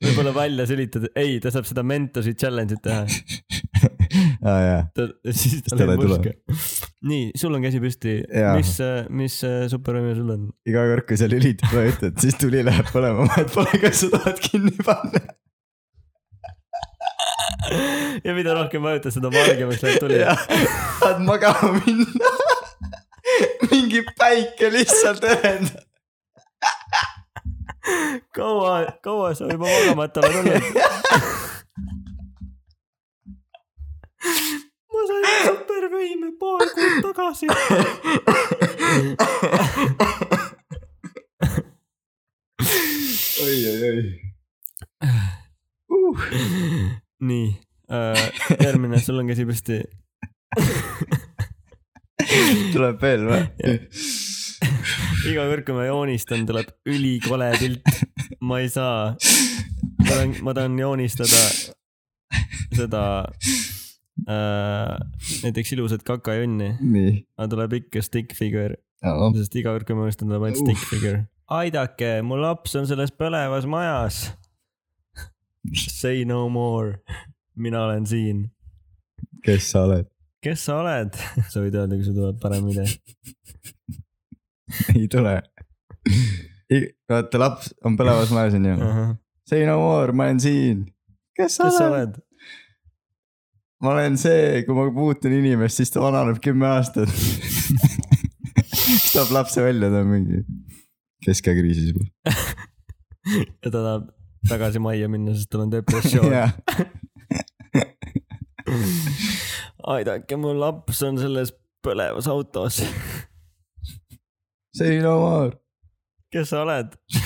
võib-olla välja sülitad , ei , ta saab seda Mentosi challenge'it teha . aa Ah, jaa , ta , siis ta Siis tal lööb ei tule. muska . nii , sul on käsi püsti . Jaa. mis , mis äh, supervõime sul on ? iga kord , kui sa lülitad vajutud , siis tuli läheb põlema , vahet pole , kas sa tahad kinni panna . ja mida rohkem vajutad , seda valgemaks läheb tuli . tahad magama minna . mingi päike lihtsalt õhendab . kaua , kaua sa juba magamata oled olnud ? ma sain supervõime paar kuud tagasi . oi , oi , oi . Uh. nii äh, , järgmine , sul on käsi püsti . tuleb veel või ? iga kord , kui ma joonistan , tuleb ülikole pilt . ma ei saa , ma tahan , ma tahan joonistada seda äh, , näiteks ilusat kakajonni , nii . aga tuleb ikka stick figure . sest iga kord , kui ma unustan , tuleb ainult Uh. stick figure . aidake , mu laps on selles põlevas majas . Say no more , mina olen siin . kes sa oled ? kes sa oled ? sa võid öelda , kui sul tuleb parem idee . ei tule . vaata , laps on põlevas majas onju . kes Say no more , ma olen siin . kes sa sa oled ? oled ? ma olen see , kui ma puutun inimest , siis ta vananeb kümme aastat . siis tuleb lapse välja , ta on mingi keskekriisis juba . ja ta tahab tagasi majja minna , sest tal on depressioon . jah , aidake , mu laps on selles põlevas autos . say no more kes sa oled ?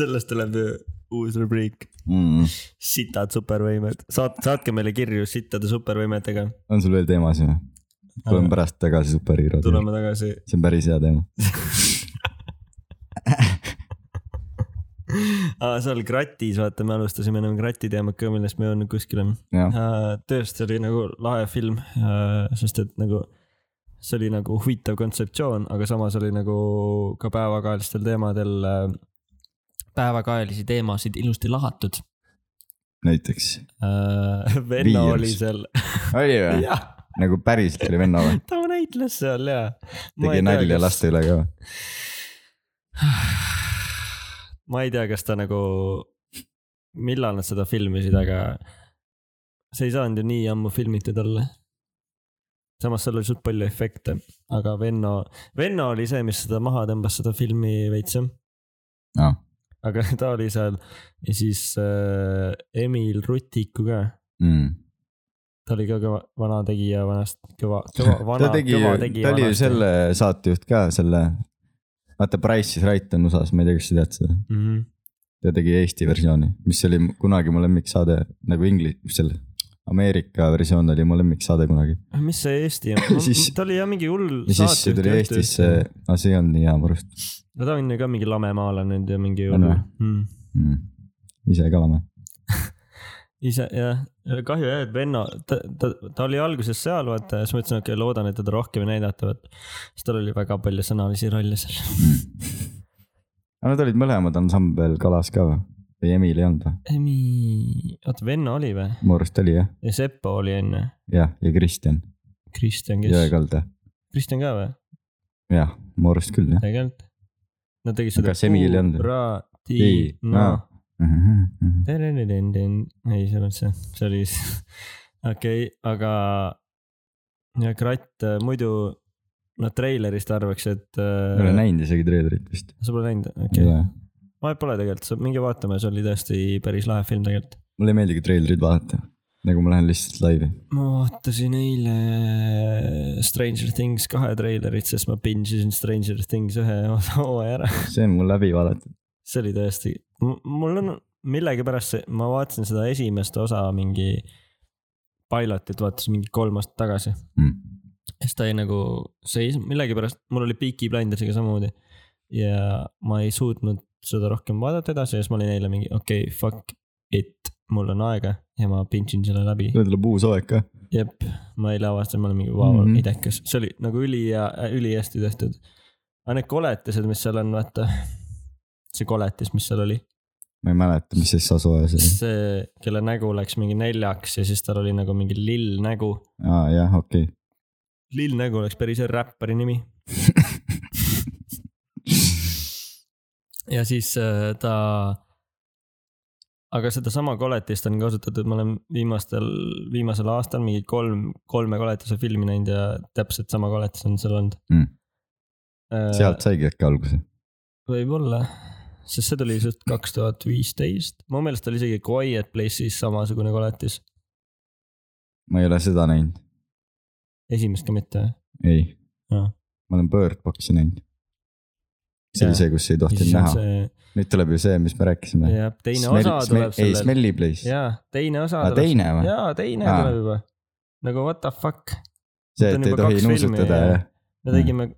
sellest tuleb ju uus rubriik , mm. . sitad supervõimed , saat- , saatke meile kirju sittade supervõimetega . on sul veel teemasid või ? tuleme pärast tagasi superhiirode juurde , tuleme tagasi . see on päris hea teema . aa , seal kratis , vaata , me alustasime ennem krati teemat ka , millest me ei olnud kuskile . jah , tõesti oli nagu lahe film , sest et nagu see oli nagu huvitav kontseptsioon , aga samas oli nagu ka päevakajalistel teemadel , päevakajalisi teemasid ilusti lahatud . näiteks . venna Viirus. oli seal , oli või ? jah , nagu päriselt oli venna või ? ta näitles seal ja . tegi nalja . laste üle ka või ? ma ei tea , kas ta nagu , millal nad seda filmisid , aga see ei saanud ju nii ammu filmitud olla . samas seal oli suht palju efekte , aga Venno , Venno oli see , mis seda maha tõmbas , seda filmi veits jah . Aa. aga ta oli seal ja siis äh, Emil Rutiku ka , mm. ? ta oli ka kõva , vana tegija vanast , kõva , kõva , ta vana , tegi kõva , ta tegija oli ju . selle saatejuht ka , selle , vaata Price is Right on USA-s , ma ei tea , kas sa tead seda . Mm -hmm. ta tegi Eesti versiooni , mis oli kunagi mu lemmiksaade nagu ingli- , selle Ameerika versioon oli mu lemmiksaade kunagi . Ah, mis see Eesti Siis- on , ta oli jah mingi hull . ja siis see tuli Eestisse , no see ei olnud nii hea mu arust no ta on ju ka mingi lamemaalane nüüd ja mingi On või? mm. . mm. . ise ka lame . ise jah , kahju jah , et Venno , ta , ta , ta oli alguses seal vaata ja siis ma ütlesin , okei okay, , loodan , et teda rohkem ei näidata , vaata . siis tal oli väga palju sõnalisi rolle seal . Hmm. aga nad olid mõlemad ansambel Kalas ka või ? või Emil ei olnud või ? Emi , oota Venno oli või ? mu arust oli jah , ja Seppo oli enne , jah , ja Kristjan Kristjan , kes ? Jõekalda , Kristjan ka või ? jah , mu arust küll jah . tegelikult . Nad tegid seda . Kas Emil ei olnud või? Ei, no aa. mhm, ma Tererindin. ei , see ei olnud see , see oli , okei , aga ja kratt , muidu noh , treilerist arvaks , et äh, ei ole näinud isegi treilerit vist . sa pole näinud , okei okay. , mulle ma pole tegelikult , sa minge vaatama , see oli tõesti päris lahe film tegelikult . ei meeldigi treilerit vaadata , nagu ma lähen lihtsalt laivi . ma vaatasin eile Stranger Things kahe treilerit , sest ma binge isin Stranger Things ühe osa hooaja ära . see on mul läbi vaadatud . see oli tõesti , mul on millegipärast see , ma vaatasin seda esimest osa mingi pilotit vaatasin mingi kolm aastat tagasi Mm. siis ta jäi nagu seis- , millegipärast mul oli Peaky Blindersiga samamoodi . ja ma ei suutnud seda rohkem vaadata edasi ja siis ma olin eile mingi okei okay, , fuck it , mul on aega ja ma pintsin selle läbi . nüüd tuleb uus hooaeg ka . jep , ma eile avastasin , ma olin mingi vau mm Mhm. -hmm. , idekas , see oli nagu üli ja äh, ülihästi tehtud . aga need koletised , mis seal on , vaata , see koletis , mis seal oli , ma ei mäleta , mis siis osa hooajas oli . see , kelle nägu läks mingi neljaks ja siis tal oli nagu mingi lill nägu . aa jah , okei . lill nägu oleks päris hea räppari nimi ja siis äh, ta , aga sedasama koletist on kasutatud , ma olen viimastel , viimasel aastal mingi kolm , kolme koletise filmi näinud ja täpselt sama koletis on seal olnud Äh, Mm. . sealt . saigi äkki alguse . võib-olla , sest see tuli just kaks tuhat viisteist , mu meelest oli isegi Quiet Place'is samasugune koletis , ma ei ole seda näinud , esimest ka mitte . ei Aa. . ma olen Birdboxi näinud . see oli Jaa. see , kus ei tohtinud näha . nüüd tuleb ju see , mis me rääkisime . jah , teine osa tuleb ei , sellel , Smelly Place . jaa , teine osa aa , tuleb , teine või ? jaa , teine Aa. tuleb juba . nagu what the fuck , see , on et ei juba tohi kaks filmi, nuusutada jah. ja me Jaa. tegime ,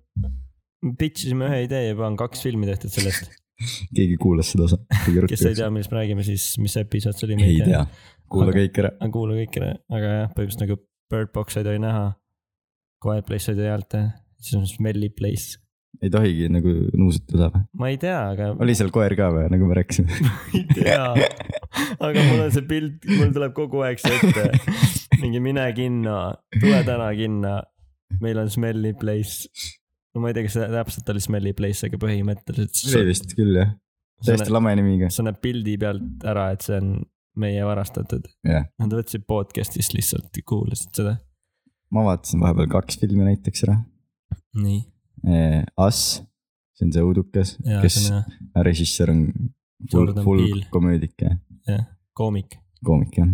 pitch isime ühe idee juba on kaks filmi tehtud sellest , keegi kuulas seda osa . kes ei tea , millest me räägime , siis mis episood see oli , me ei tea , kuula Aga- kõik ära . aga kuula kõik ära , aga jah , põhimõtteliselt nagu Bird Box ei tohi näha . Quiet Place ei tohi häält teha , siis on Smelly Place . ei tohigi nagu nuusutada või ? ma ei tea , aga oli seal koer ka või , nagu me rääkisime ? ei tea . aga mul on see pilt , mul tuleb kogu aeg see ette . mingi mine kinno , tule täna kinno , meil on Smelly Place . no ma ei tea , kas see täpselt oli Smelly Place , aga põhimõtteliselt . oli vist küll jah , täiesti lame nimiga . sa näed pildi pealt ära , et see on meie varastatud Jah. . Nad võtsid podcast'ist lihtsalt , kuulasid seda . ma vaatasin vahepeal kaks filmi näiteks ära . nii . Us , see on see õudukas , ja kes see on jah, režissöör on full Jordan , full Peele. komöödik ja koomik . koomik jah .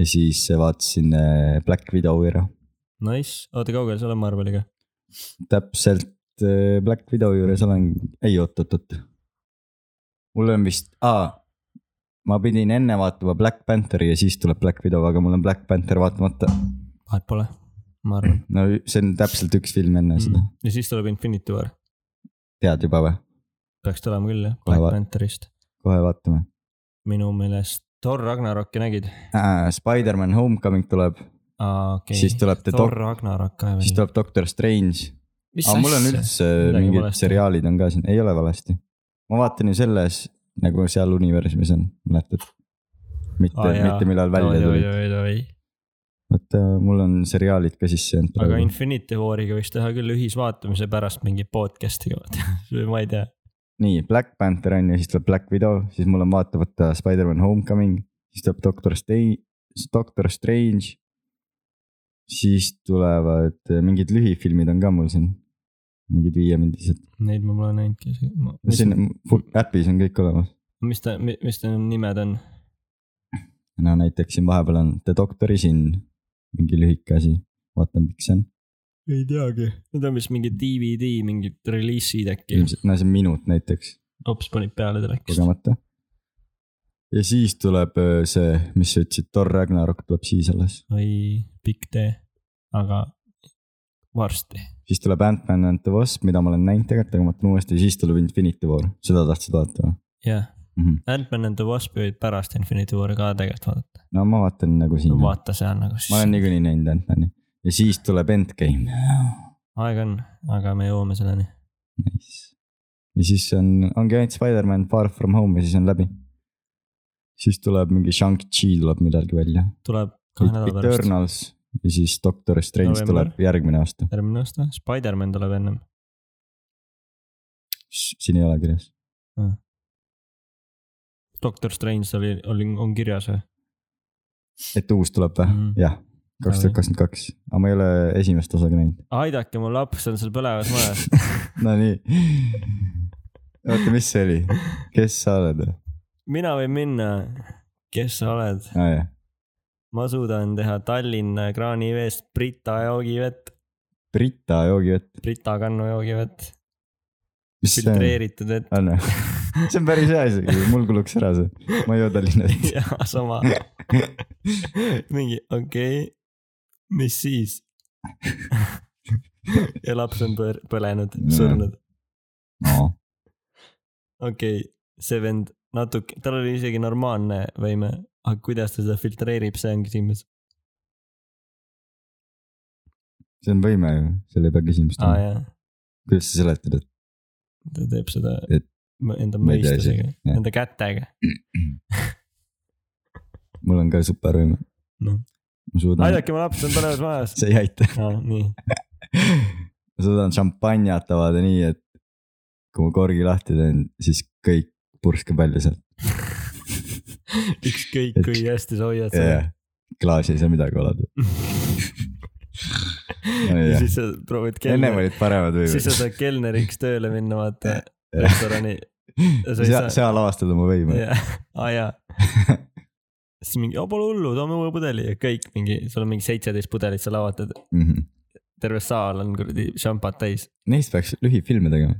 ja siis eh, vaatasin äh, Black Widow ära , Nice , oota kaugel sa oled Marveliga ? täpselt äh, Black Widow juures olen , ei oot , oot , oot . mul on vist , aa , ma pidin enne vaatama Black Pantheri ja siis tuleb Black Widow , aga mul on Black Panther vaatamata . vahet pole , ma arvan . no see on täpselt üks film enne seda , ja siis tuleb Infinity War , tead juba või ? peaks tulema küll jah , Kohe Black va- Pantherist . kohe vaatame . minu meelest Thor Ragnaroki nägid ? Ah, Spider-man Homecoming tuleb aa , okei Siis tuleb The Thor Doc- Ragnarok ka siis veel . tuleb Doctor Strange . mis aga mul on asja ? üldse Midagi mingid valesti. seriaalid on ka siin , ei ole valesti . ma vaatan ju selles nagu seal universumis on , mäletad ? mitte Aa, oh, , jaa. mitte millal välja oi , tuli . oi , oi , oi . vot äh, mul on seriaalid ka sisse jäänud aga praegu . Infinity War'iga võiks teha küll ühisvaatamise pärast mingi podcast'i , ma ei tea . nii , Black Panther on ju , siis tuleb Black Widow , siis mul on vaatamata Spider-man Homecoming , siis tuleb Doctor Strange , Doctor Strange . siis tulevad äh, mingid lühifilmid on ka mul siin , mingid viiemindised , Neid ma pole näinudki . mis , siin äpis on kõik olemas . mis ta , mis ta nimed on ? no näiteks siin vahepeal on The Doctor'i siin mingi lühike asi , vaatan , miks see on . ei teagi . Need on vist mingi DVD mingid reliisid äkki . ilmselt , no see on minut näiteks , hops panid peale telekast . kogemata . ja siis tuleb öö, see , mis sa ütlesid , Thor Ragnarok tuleb siis alles , või pikk tee , aga varsti . siis tuleb Ant-Man and the Wasp , mida ma olen näinud tegelikult , aga ma vaatan uuesti , siis tuleb Infinity War , seda tahtsid vaadata või jah , mm ? -hmm. Ant-Man and the Wasp võid pärast Infinity War'i ka tegelikult vaadata . no ma vaatan nagu siin no, , vaata seal nagu siis ma olen niikuinii näinud Ant-Mani ja siis tuleb Endgame , aega on , aga me jõuame selleni . nice . ja siis on , ongi ainult Spider-man Far From Home ja siis on läbi . siis tuleb mingi Shang-Chi tuleb millalgi välja tuleb kahe nädala pärast , Eternals ja siis Doctor Strange November. tuleb järgmine aasta , järgmine aasta , Spider-man tuleb ennem . siin ei ole kirjas . Doctor Strange oli , oli , on kirjas või ? et uus tuleb või Mhm. mm. ? jah , kaks tuhat kakskümmend kaks , aga ma ei ole esimest osa ka näinud . aidake mu laps on seal põlevas majas . Nonii . oota , mis see oli ? kes sa oled või ? mina võin minna . kes sa oled ? aa Ah, jah , ma suudan teha Tallinna kraaniveest Brita joogivett , Brita joogivett . Brita kannu joogivett , mis see on ? filtreeritud vett . on või ? see on päris hea isegi , mul kuluks ära see , ma ei joo Tallinna vett . jaa , sama . mingi okei okay. , mis siis ? ja laps on põr- , põlenud , surnud , no. . okei okay, , see vend natuke , tal oli isegi normaalne võime , aga kuidas ta seda filtreerib , see on küsimus . see on võime ju , seal ei pea küsimust aa olema . jaa , kuidas sa seletad , et ta teeb seda Et- mõ- enda ma ei tea mõistusega , jah. enda kätega . mul on ka supervõime Noh. ? ma suudan , aidake , mu laps on põlevas majas . see ei aita . aa , nii , ma suudan šampanjat avada nii , et kui ma korgi lahti teen , siis kõik purskab välja sealt ükskõik kui hästi sa hoiad ja seda . ja klaas ei saa midagi olada . ja siis sa proovid ennem kelner , olid paremad siis sa võivad . saad kelneriks tööle minna , vaata Jah. restorani . sa ei seal , saa , seal avastad oma võime . jah , aa jaa . siis mingi , oo pole hullu , toome uue pudeli ja kõik mingi , sul on mingi seitseteist pudelit , sa lavatad , terve saal on kuradi šampat täis Mhm. Neist peaks lühifilme tegema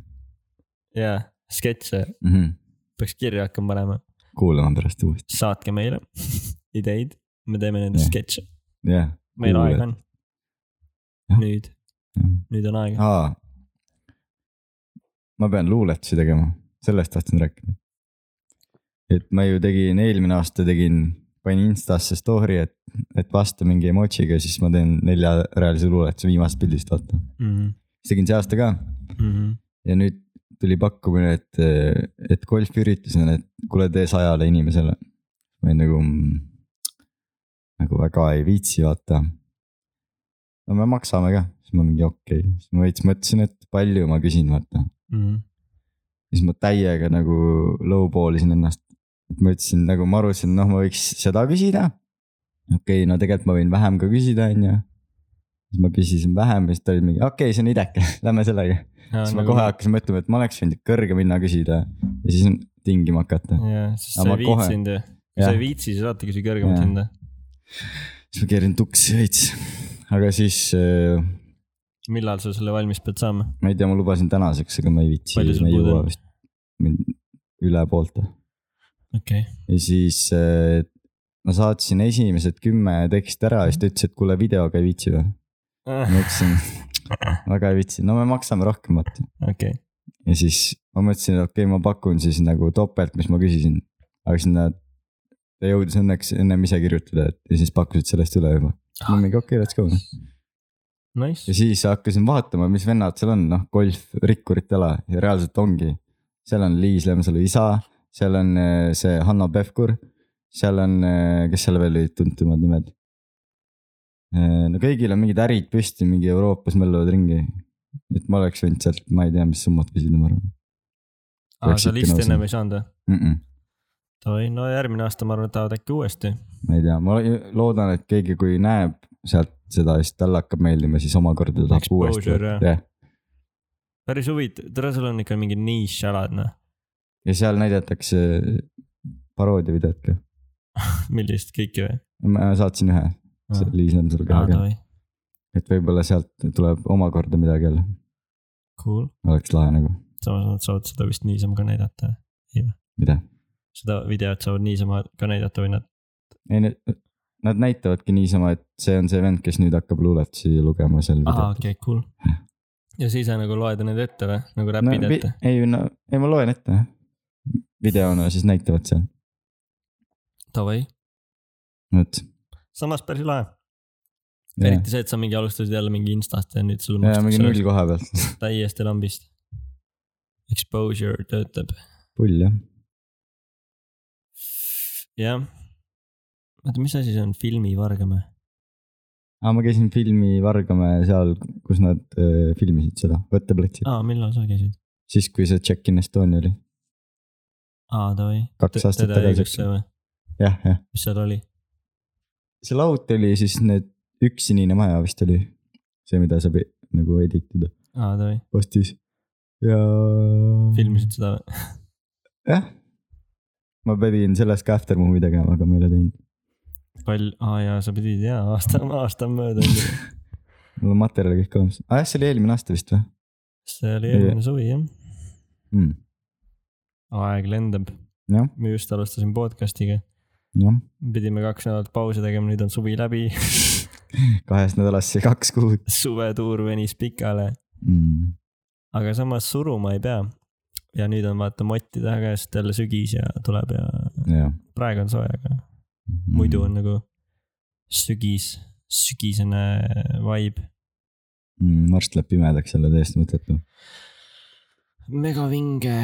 ja sketše mm . -hmm. peaks kirja hakkama panema , kuulame pärast uuesti , saatke meile ideid , me teeme nende Jah. sketše , jah . meil Kuule. aega on . Jah. Ah. nüüd , nüüd on aega , aa . ma pean luuletusi tegema , sellest tahtsin rääkida . et ma ju tegin , eelmine aasta tegin , panin Instasse story , et , et vasta mingi emojiga , siis ma teen neljarealise luuletuse viimasest pildist , vaata . Mhm. siis tegin see aasta ka ja nüüd tuli pakkumine , et , et golfiüritusena , et kuule , tee sajale inimesele . ma olin nagu , nagu väga ei viitsi vaata . no me maksame ka , siis ma mingi okei okay. , siis ma veits mõtlesin , et palju ma küsin , vaata . Mhm. siis ma täiega nagu lowball isin ennast . et ma ütlesin nagu ma arvasin , noh , ma võiks seda küsida . okei okay, , no tegelikult ma võin vähem ka küsida , on ju . siis ma küsisin vähem ja siis ta oli mingi okei okay, , see on ideke , lähme sellega . siis nagu- ma kohe . hakkasin mõtlema , et ma oleks võinud kõrgem hinna küsida ja siis tingima hakata . jah , sest sa Aga ma ei kohe- viitsinud ju , kui sa Jah. ei viitsi , siis alati küsi kõrgemat Jah. hinda . siis ma keerin tuksi veits , aga siis äh, millal sa selle valmis pead saama ? ma ei tea , ma lubasin tänaseks , aga ma ei viitsi , Palju sul ma ei puudu jõua on? vist mind üle poolte okei , ja siis äh, ma saatsin esimesed kümme teksti ära ja siis ta ütles , et kuule , videoga ei viitsi või ? Ah, ma ütlesin , väga ei viitsi , no me maksame rohkem , vaata . okei , ja siis ma mõtlesin , et okei okay, , ma pakun siis nagu topelt , mis ma küsisin . aga siis nad , ta jõudis õnneks ennem ise kirjutada , et ja siis pakkusid sellest üle juba . ma mingi okei okay, , let's go . nice ja . siis hakkasin vaatama , mis vennad seal on , noh golf , rikkurite ala ja reaalselt ongi . seal on Liis Lemsalu isa , seal on äh, see Hanno Pevkur , seal on , kes seal veel olid tuntumad nimed ? no kõigil on mingid ärid püsti , mingi Euroopas möllavad ringi . et ma oleks võinud sealt , ma ei tea , mis summat küsida , ma arvan aa , Läksidki Ah, sa listi nõus, ennem jah? ei saanud või ? mm . -mm. davai , no järgmine aasta ma arvan , et tahavad äkki uuesti . ma ei tea , ma loodan , et keegi , kui näeb sealt seda , siis talle hakkab meeldima , siis omakorda tahab Exposure, uuesti . jah. jah , päris huvitav , tere , sul on ikka mingi nišalad , noh . ja seal näidatakse paroodiavideot ka . millist , kõiki või ? ma saatsin ühe , see Liis Lemsalu aa , käega , davai , et võib-olla sealt tuleb omakorda midagi jälle , cool . oleks lahe nagu , samas nad saavad seda vist niisama ka näidata . mida . seda videot saavad niisama ka näidata või nad , ei , nad näitavadki niisama , et see on see vend , kes nüüd hakkab luuletusi lugema seal aa , videotes Ah, okei , cool . ja siis sa nagu loed need ette või , nagu no, räpid no, vi- ette ? ei , no ei , ma loen ette , videona siis näitavad seal , davai , vot . samas päris lahe . eriti see , et sa mingi alustasid jälle mingi instast ja nüüd sulle jaa , mingi makstakse null koha pealt , täiesti lambist . Exposure töötab , pull jah jah . oota , mis asi see on , filmivargem või ? aga ma käisin filmi Vargamäe seal , kus nad äh, filmisid seda , võtteplatsil ah. , aa , millal sa käisid ? siis kui see Check in Estonia oli , aa , davai . kaks aastat tagasi . või ? jah , jah , mis seal oli ? see laut oli siis need , üks sinine maja vist oli see , mida saab e- nagu edit ida aa , davai , postis ja . filmisid seda või ? jah , ma pidin sellest ka after movie tegema , aga ma ei ole teinud , palju , aa jaa , sa pidid jaa , aasta , aasta on möödunud . mul on materjal kõik olemas ah, , jah , see oli eelmine aasta vist või see oli eelmine suvi jah , mm. ? aeg lendab . jah , ma just alustasin podcast'iga , jah , pidime kaks nädalat pausi tegema , nüüd on suvi läbi , kahest nädalast see kaks kuud suvetuur venis pikale , mm. . aga samas suruma ei pea . ja nüüd on vaata motti taga ja siis jälle sügis ja tuleb ja jah . praegu on soe , aga Mhm. muidu on nagu sügis , sügisene vibe . mm, . varsti läheb pimedaks jälle täiesti mõttetu . megavinge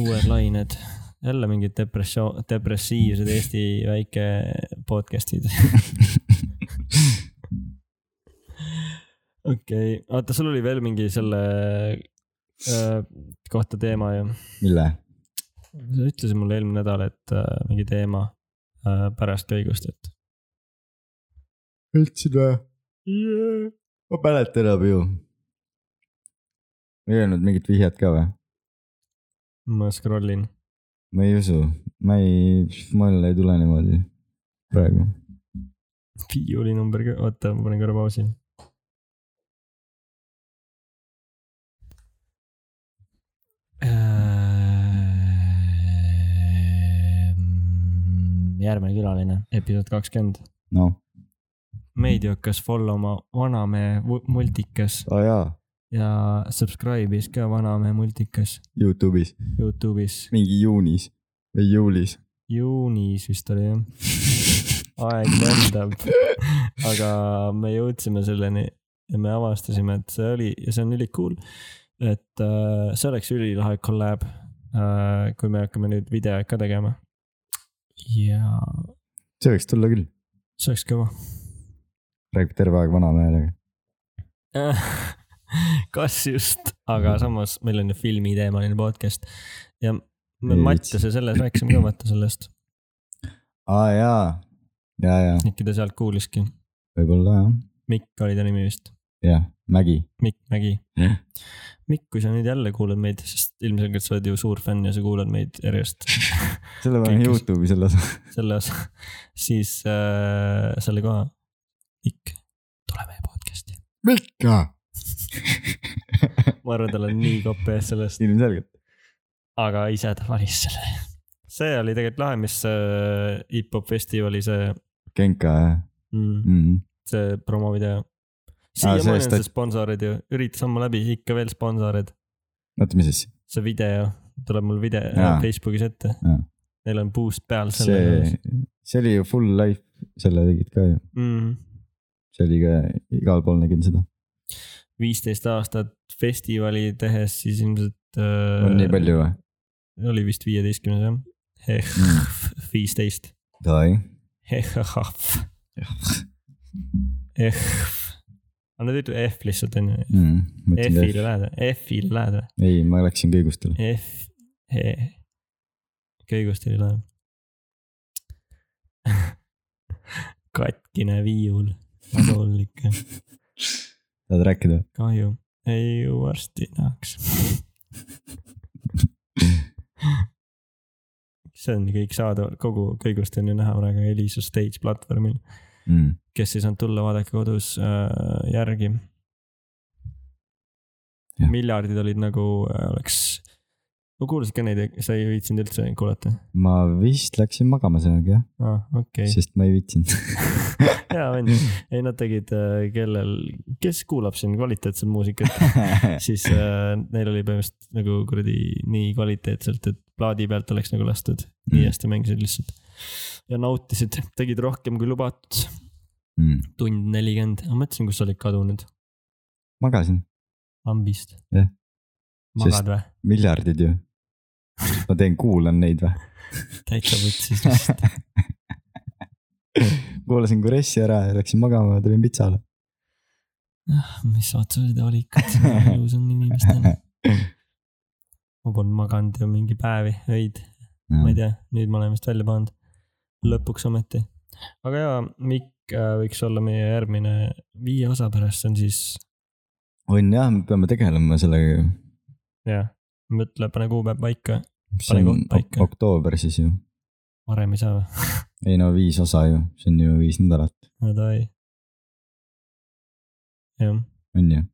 uued lained , jälle mingid depressioon , depressiivsed Eesti väike podcast'id . okei okay. , oota , sul oli veel mingi selle äh, kohta teema ju . mille ? sa ütlesid mulle eelmine nädal , et äh, mingi teema äh, pärast kõigust , et ütlesin või ? yeah. . ma mäletan enam ju . ei öelnud mingit vihjet ka või ? ma scroll in . ma ei usu , ma ei , mul ei tule niimoodi praegu . viiulinumber , oota , ma panen korra pausi . Äh, mm, järgmine külaline , episood kakskümmend . noh , meid hakkas follow ma vanamehe vu- multikas aa oh, jaa , ja subscribe'is ka vanamehe multikas Youtube'is Youtube'is . mingi juunis või juulis . juunis vist oli jah , aeg lendab . aga me jõudsime selleni ja me avastasime , et see oli ja see on ülikool . et äh, see oleks ülilahe kolläb äh, , kui me hakkame nüüd videoid ka tegema . ja see võiks tulla küll , see oleks kõva . räägib terve aeg vanamehele . kas just , aga samas meil on ju filmiteemaline podcast ja me Ei, Mattiase selles rääkisime ka vaata sellest , aa Ah, jaa , ja , ja äkki ta sealt kuuliski . võib-olla jah , Mikk oli ta nimi vist , jah , Mägi . Mikk Mägi Jah. . Mikk , kui sa nüüd jälle kuulad meid , sest ilmselgelt sa oled ju suur fänn ja sa kuulad meid järjest selle panen Kõik, kes- Youtube'i selle osa . selle osa , siis äh, selle koha . Mikk , tule meie podcast'i . Mikka . ma arvan , tal on nii kopp ees sellest . ilmselgelt . aga ise ta valis selle . see oli tegelikult lahe , mis äh, hip-hop festivali see Genka jah mm, , mm. . see promovideo . Aa, see siiamaani on stat- see sponsorid ju , üritas sammu läbi , ikka veel sponsorid . oota , mis siis ? see video , tuleb mul video Jaa. äh, Facebookis ette Jaa. . Neil on boost peal sellele see ., see oli ju full life , selle tegid ka ju , Mm, see oli ka igal pool nägin seda . viisteist aastat festivali tehes , siis ilmselt äh, on nii palju või ? oli vist viieteistkümnes jah . Mm. viisteist . Tai . Ehhahv . Ehv . aga nad ütlevad F lihtsalt on Mm, ju . F-ile mõtlesin , lähed , F-ile lähed või ? ei , ma läksin kõigustele . F , E . kõigust ei lähe . katkine viiul , laul ikka , tahad rääkida ? kahju , ei ju varsti tahaks . see on kõik saadaval , kogu kõigust on ju näha praegu Elisa stage platvormil , Mm. kes ei saanud tulla , vaadake kodus äh, järgi . Jah. miljardid olid nagu äh, oleks , ma kuulasin ka neid , sa ei viitsinud üldse kuulata ma vist läksin magama sellega jah , ah, , okei okay. , sest ma ei viitsinud . hea vend . ei , nad tegid , kellel , kes kuulab siin kvaliteetset muusikat , siis äh, neil oli põhimõtteliselt nagu kuradi nii kvaliteetselt , et plaadi pealt oleks nagu lastud . Mm, nii hästi mängisid lihtsalt ja nautisid , tegid rohkem kui lubatud , mm. tund nelikümmend , ma mõtlesin , kus sa olid kadunud , magasin , lambist Jah. . magad Sest- Sest... või ? miljardid ju . ma teen , kuulan neid või ? täitsa võtsis vist , kuulasin Kuressi ära ja läksin magama ja tulin pitsale . Ah, mis otsused ja valikud siin elus on inimestel . ma polnud maganud ju mingi päevi , öid , Mm. ma ei tea , nüüd ma olen vist välja pannud . lõpuks ometi . aga jaa , Mikk äh, võiks olla meie järgmine viie osa pärast , see on siis , on jah , me peame tegelema sellega ju . jah , mõtle , pane kuupäev paika , see Pane on koht paika. ok- oktoober siis ju . varem ei saa või ? ei no viis osa ju , see on ju viis nädalat , no davai . jah . on ju .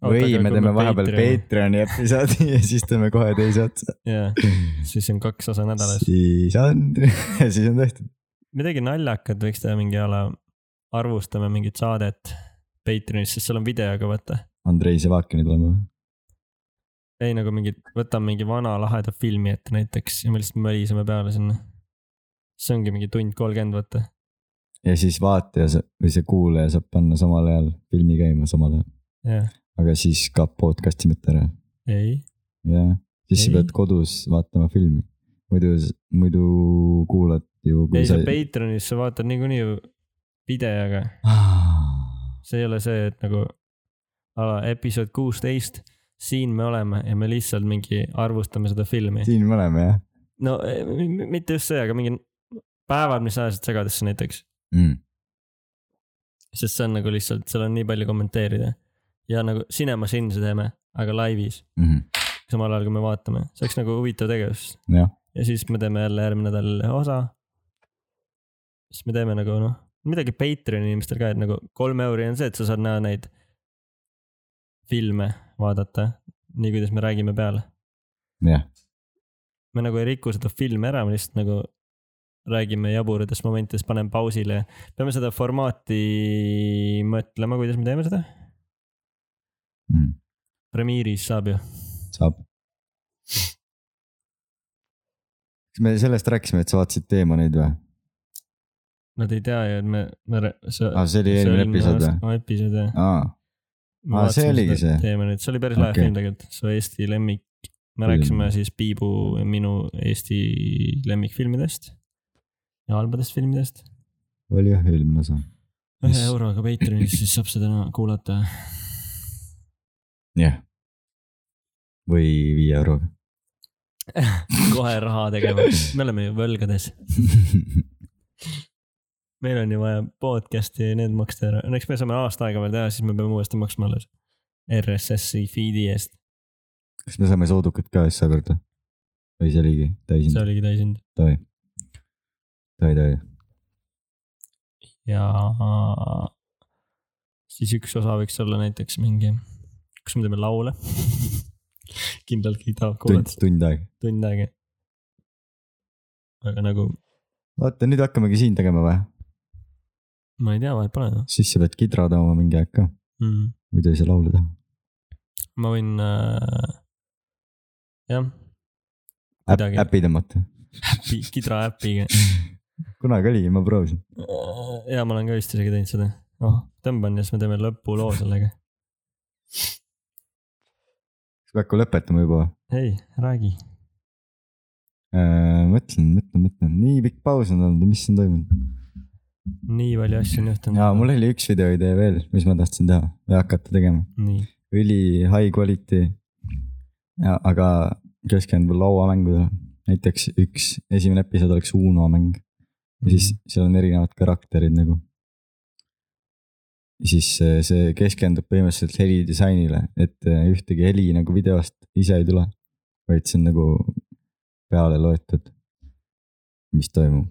või me teeme vahepeal . Patreoni episoodi ja siis teeme kohe teise otsa . jaa , siis on kaks osa nädalas . siis on , siis on tehtud . midagi naljakat võiks teha mingi ala , arvustame mingit saadet Patreonis , sest seal on videoga vaata . Andrei Sevakini tulema või ? ei nagu mingit , võtame mingi vana laheda filmi ette näiteks ja me lihtsalt möliseme peale sinna . see ongi mingi tund kolmkümmend vaata . ja siis vaataja sa- või see kuulaja saab panna samal ajal filmi käima samal ajal , jah , aga siis kaob podcast imete ära ei , ja siis sa Ei. pead kodus vaatama filmi . muidu , muidu kuulad ju . ei sa Patreonis sa vaatad niikuinii ju videoga , Ah. see ei ole see , et nagu ala episood kuusteist , siin me oleme ja me lihtsalt mingi arvustame seda filmi . siin me oleme jah no eh, mi- mi- mitte just see , aga mingi päevad , mis ajasid segadesse näiteks , mm. . sest see on nagu lihtsalt , seal on nii palju kommenteerida . ja nagu Cinema Sin'se teeme , aga laivis , mm . -hmm. samal ajal kui me vaatame , see oleks nagu huvitav tegevus . jah , ja siis me teeme jälle järgmine nädal ühe osa . siis me teeme nagu noh , midagi Patreon'i inimestel ka , et nagu kolm euri on see , et sa saad näha neid filme vaadata , nii kuidas me räägime peale . jah , me nagu ei riku seda filmi ära , me lihtsalt nagu räägime jaburatest momentidest , paneme pausile . peame seda formaati mõtlema , kuidas me teeme seda . mm. Premiere'is saab ju . saab . kas me sellest rääkisime , et sa vaatasid teemaneid või ? Nad ei tea ju , et me , me . aa , Ah, see oli eelmine episood või ? või ? episood jah . aa , Aa, see oligi see? teeme nüüd , see oli päris lahe Okei. film tegelikult , see Eesti lemmik . me Film. rääkisime siis Piibu ja minu Eesti lemmikfilmidest ja halbadest filmidest . oli jah eelmine osa . ühe Mis- euroga Patreonis , siis saab seda na- kuulata . jah . või viie euroga . kohe raha tegema , me oleme ju võlgades , meil on ju vaja podcast'i ja need maksta ära , eks me saame aasta aega veel teha , siis me peame uuesti maksma alles RSS-i feed'i eest , kas me saame soodukat ka seekord või ? või see oligi see täishind ? oligi täishind davai , davai , davai , ja äh, siis üks osa võiks olla näiteks mingi , kus me teeme laule . kindlalt keegi tahab tund kuulata , tund aega . tund aega . aga nagu vaata , nüüd hakkamegi siin tegema või ? ma ei tea , vahet pole noh siis sa pead kidra tooma mingi aeg ka , mm. . muidu ei saa laulu teha . ma võin äh, , jah , Midagi. äpi tõmmata . pi- kidra äpiga . kunagi oligi , ma proovisin . ja ma olen ka vist isegi teinud seda oh, . tõmban ja siis me teeme lõpuloo sellega . kas me hakkame lõpetama juba või ? ei , räägi . Äh, mõtlen , mõtlen , mõtlen , nii pikk paus on olnud , mis on toimunud ? nii palju asju on juhtunud . jaa , mul oli üks videoidee veel , mis ma tahtsin teha ja hakata tegema . nii , üli high quality . aga keskendub lauamängudele , näiteks üks esimene episood oleks Uno mäng ja siis seal on erinevad karakterid nagu . siis äh, see keskendub põhimõtteliselt helidisainile , et äh, ühtegi heli nagu videost ise ei tule , vaid see on nagu peale loetud , mis toimub .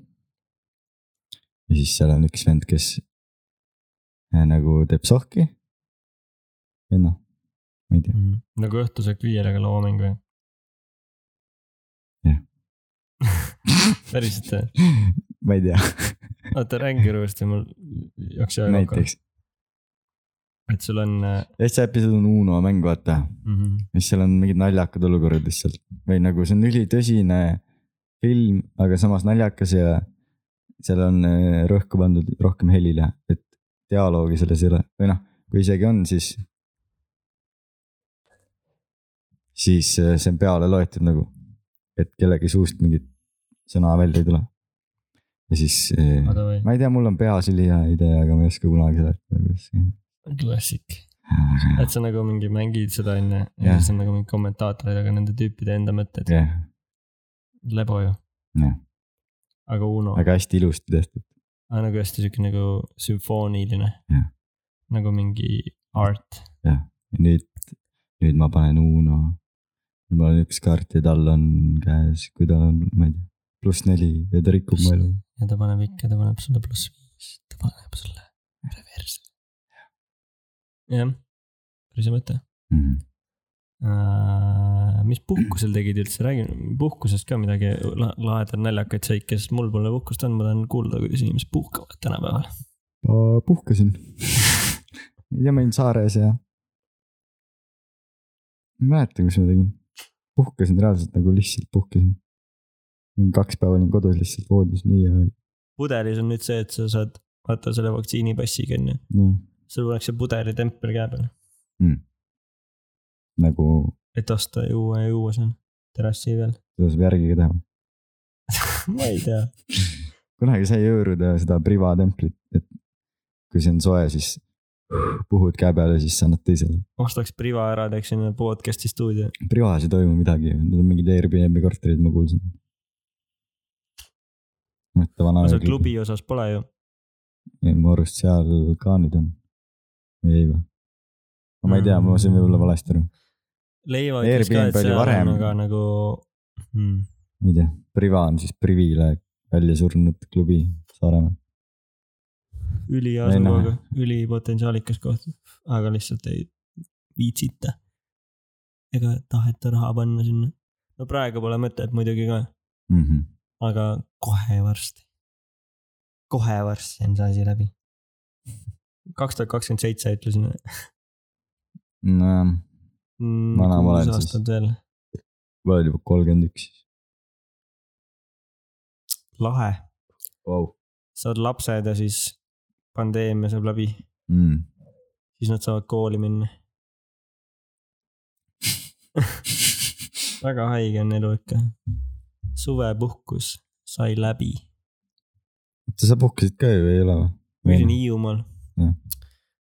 ja siis seal on üks vend , kes äh, nagu teeb sohki . või noh , ma ei tea , mm. . nagu õhtusöök viielega lauamäng või ? Jah. . päriselt või ? ma ei tea , oota , räägi uuesti , mul jooksis aeg kokku . näiteks , et sul on mm . täitsa episood on Uno mäng , vaata -hmm. ja siis seal on mingid naljakad olukorrad lihtsalt või nagu see on ülitõsine film , aga samas naljakas ja seal on äh, rõhku pandud rohkem helile , et dialoogi selles ei ole või noh , kui isegi on , siis . siis äh, see on peale loetud nagu , et kellegi suust mingit sõna välja ei tule . ja siis , aga või ? ma ei tea , mul on peas ülihea idee , aga ma ei oska kunagi seletada , kuidas klassik . see . et sa nagu mingi mängid seda onju ja Jah. siis on nagu mingi kommentaatorid , aga nende tüüpide enda mõtted . jah , lebo ju . Jah. aga Uno . aga hästi ilusti tehtud , aga nagu hästi siuke nagu sümfooniline Jah. . nagu mingi art . nüüd , nüüd ma panen Uno . nüüd mul on üks kaart ja tal on käes , kui tal on , ma ei tea , pluss neli ja ta rikub mu elu . ja ta paneb ikka , ta paneb sulle pluss viis , ta paneb sulle reverse . jah , päris hea mõte . mis puhkusel tegid üldse , räägi puhkusest ka midagi la- lahedat naljakaid seike , sest mul pole puhkust olnud , ma tahan kuulda , kuidas inimesed puhkavad tänapäeval . ma puhkasin . ma ei tea , ma olin saares ja . ma ei mäleta , mis ma tegin . puhkasin reaalselt nagu lihtsalt puhkasin . kaks päeva olin kodus lihtsalt voodis , nii hea oli , pudelis on nüüd see , et sa saad , vaata selle vaktsiinipassiga on ju , nii sul pannakse pudelitempel käe peal , nagu et osta ja juua ja juua seal terrassi peal . seda saab järgi ka teha . ma ei tea . kunagi sai hõõruda seda Priva templit , et kui see on soe , siis puhud käe peale , siis annad teisele . ostaks Priva ära , teeksin podcast'i stuudio . Privas ei toimu midagi , need on mingid Airbnb korterid , ma kuulsin . mõtle vana aga seal . klubi osas pole ju . mu arust seal ka nüüd on või ei või ? ma ei tea , ma sain võib-olla valesti aru , Leivo ütles ka , Airbnb et oli seal varem. on aga nagu mm, , ma ei tea , Priva on siis Privile välja surnud klubi Saaremaal . Ei näe. üliasuvaga , ülipotentsiaalikas koht , aga lihtsalt ei viitsita . ega taheta raha panna sinna . no praegu pole mõtet muidugi ka , mm . -hmm. aga kohe varsti . kohe varsti on see asi läbi . kaks tuhat kakskümmend seitse ütlesin nojah , mm, . Vana ma olen siis. aastat veel , ma olen juba kolmkümmend üks lahe , wow. . saad lapsed ja siis pandeemia saab läbi , Mm. siis nad saavad kooli minna . väga haige on elu ikka . suvepuhkus sai läbi , oota , sa puhkasid ka ju , ei ole või ? ma käisin Hiiumaal Jah. .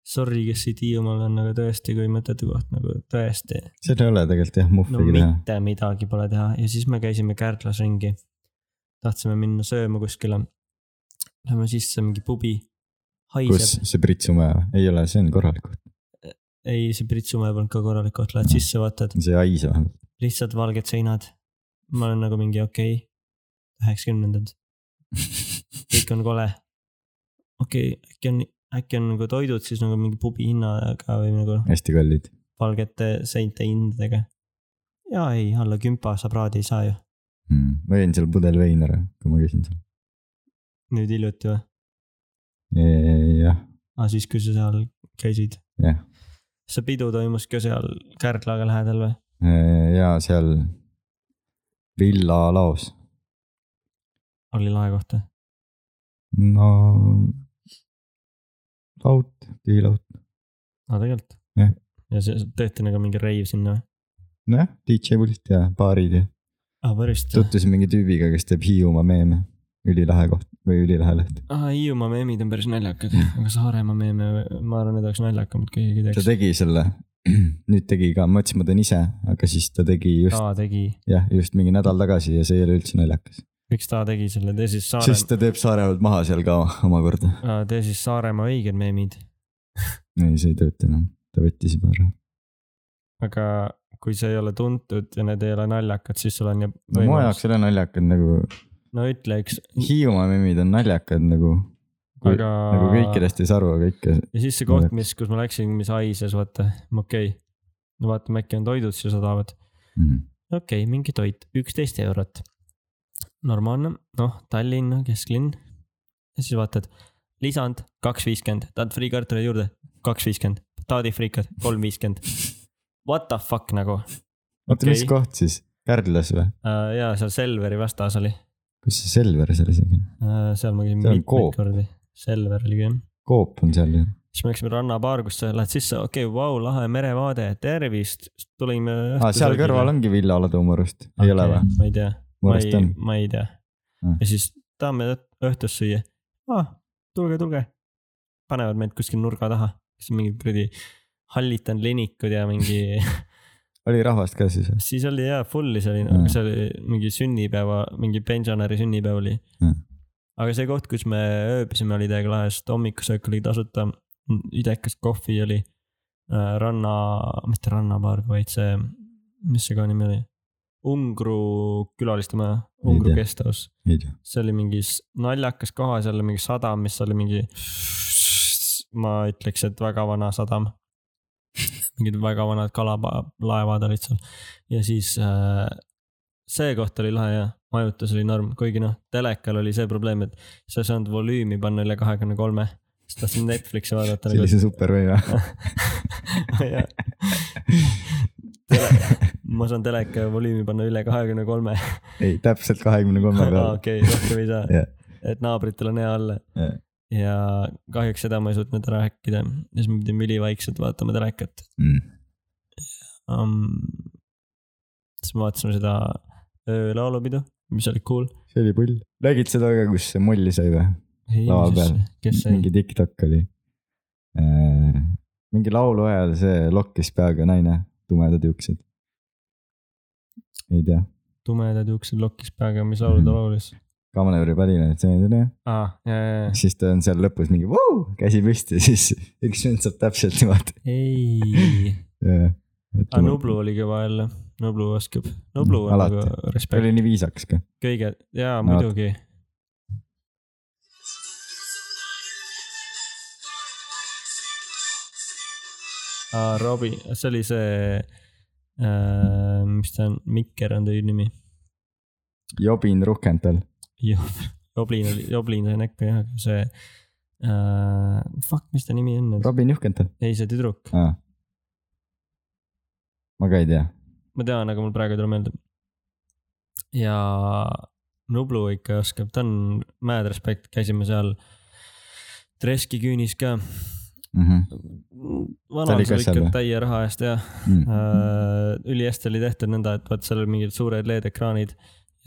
Sorry , kes siit Hiiumaal on , aga tõesti , kui mõttetu koht nagu tõesti , seal ei ole tegelikult jah no muhvigi no, mitte teha . midagi pole teha ja siis me käisime Kärdlas ringi . tahtsime minna sööma kuskile . Läheme sisse mingi pubi , kus haiseb , see Pritsumäe või ? ei ole , see on korralik , ei see Pritsumäe polnud ka korralik koht , lähed sisse , vaatad , see hais vähemalt . lihtsalt valged seinad . ma olen nagu mingi okei okay, , üheksakümnendad , kõik on kole . okei okay, , äkki on , äkki on nagu toidud siis nagu mingi pubi hinnaga või nagu hästi kallid . valgete seinte hindadega . ja ei , alla kümpa sa praadi ei saa ju , Mm. ma jõin seal pudel veina ära , kui ma käisin seal . nüüd hiljuti või ? jah , aa , siis kui sa seal käisid ? Jah. . see pidu toimus ka seal Kärdlaga lähedal või ? ja seal villa laos . oli lae kohta ? no laut , kivilaut , aa , tegelikult Jah. ? ja see tehti nagu mingi reiv sinna või ? nojah , DJ pult ja baarid ja aa , päriselt ? tutvusin mingi tüübiga , kes teeb Hiiumaa meeme , ülilahe koht või ülilahe leht . aa , Ah, Hiiumaa meemid on päris naljakad , aga Saaremaa meeme , ma arvan , need oleks naljakamad , kui keegi ta teeks . tegi selle , nüüd tegi ka , ma ütlesin , ma teen ise , aga siis ta tegi just , aa , tegi , jah , just mingi nädal tagasi ja see ei ole üldse naljakas . miks ta tegi selle , tee siis siis Saaremaa , ta teeb Saaremaalt maha seal ka omakorda . Äh, tee siis Saaremaa õiged meemid , ei , see ei tööta enam , ta võttis juba ära . aga kui sa ei ole tuntud ja need ei ole naljakad , siis sul on ju . no mu jaoks ei ole naljakad nagu , no ütle üks , Hiiumaa memid on naljakad nagu , Kui- aga . nagu kõikidest ei saa aru , aga ikka . ja siis see koht , Naljakas. mis , kus ma läksin , mis haises , vaata , okei okay. . no vaatame , äkki on toidud siia sadavad . Mhm. okei okay, , mingi toit , üksteist eurot . normaalne , noh , Tallinna kesklinn . ja siis vaatad , lisand kaks viiskümmend , tahad friikartuleid juurde , kaks viiskümmend , taadifriikad , kolm viiskümmend . What the fuck nagu oota , mis Okei. koht siis , Kärdlas või ? uh, . ja seal Selveri vastas oli kus see Selver seal isegi on ? uh, , seal ma käisin See on mitmeid Coop. kordi . Selver oli küll . Coop on seal ju . siis me läksime rannapaar , kus sa lähed sisse , okei okay, , vau , lahe merevaade , tervist , tulime . aa , Ah, seal kõrval ongi villaolade mu arust , ei ole või ? ma ei tea . mu ma arust ei on ,. ma ei tea Mm. . ja siis tahame õht- õhtust süüa ah, . tulge , tulge . panevad meid kuskil nurga taha , siis on mingid kuradi hallitanud linikud ja mingi , oli rahvast ka siis või ? siis oli jaa , full'i see oli Mm. mm. , see oli mingi sünnipäeva , mingi pensionäri sünnipäev oli Mm. aga see koht , kus me ööbisime , oli täiega lahe , sest hommikusöök oli tasuta , idekas kohvi oli äh, , ranna , mitte rannapaar , vaid see , mis see ka nimi oli ? Ungru külalistemaja , Ei Ungru tea. kestaus . ei tea . see oli mingis naljakas koha , seal oli mingi sadam , mis oli mingi , ma ütleks , et väga vana sadam . mingid väga vanad kalalaevad olid seal ja siis äh, see koht oli lahe ja majutus oli norm , kuigi noh , telekal oli see probleem , et sa ei saanud volüümi panna üle kahekümne kolme , sest tahtsin Netflixi vaadata . sellise super või või ? Jah. Tele- ma saan teleka volüümi panna üle kahekümne kolme , ei , täpselt kahekümne kolme peal . okei , rohkem ei saa nagu- Jah. . et naabritel on hea olla Jah. . ja kahjuks seda ma ei suutnud ära häkkida ja siis me pidime ülivaikselt vaatama telekat um, . siis me vaatasime seda öölaulupidu , mis oli cool . see oli pull . nägid seda ka , kus see molli sai või ? Lava peal. kes see mingi TikTok oli . mingi laulu ajal see lokkis peaga naine , tumedad juuksed . ei tea , Mhm. tumedad juuksed lokkis peaga , mis laulu ta laulis ? kaamanööri pärine , et see on ju , aa , ja , ja , siis ta on seal lõpus mingi vau , käsi püsti , siis üks vend saab täpselt niimoodi . ja , ei . aga Nublu oli kõva jälle , Nublu oskab , Nublu on Alati. nagu ta respekt oli nii viisakas ka . kõige , jaa No vot. muidugi , Robin , see oli see äh, , mis ta on , Mikker on ta nimi . Jobin Ruhkental , Joblin oli , Joblin sai näkku jah , aga see äh, , fuck , mis ta nimi on nüüd ? Robin Juhkental ei , see tüdruk , ah. . ma ka ei tea , ma tean , aga mul praegu ei tule meelde . ja Nublu ikka oskab , ta on mad respect , käisime seal Dreski küünis ka . Ta vanal oli ka seal seal ikka või? täie raha eest jah Mm. äh, ülihästi oli tehtud nõnda , et vaat seal olid mingid suured LED-ekraanid .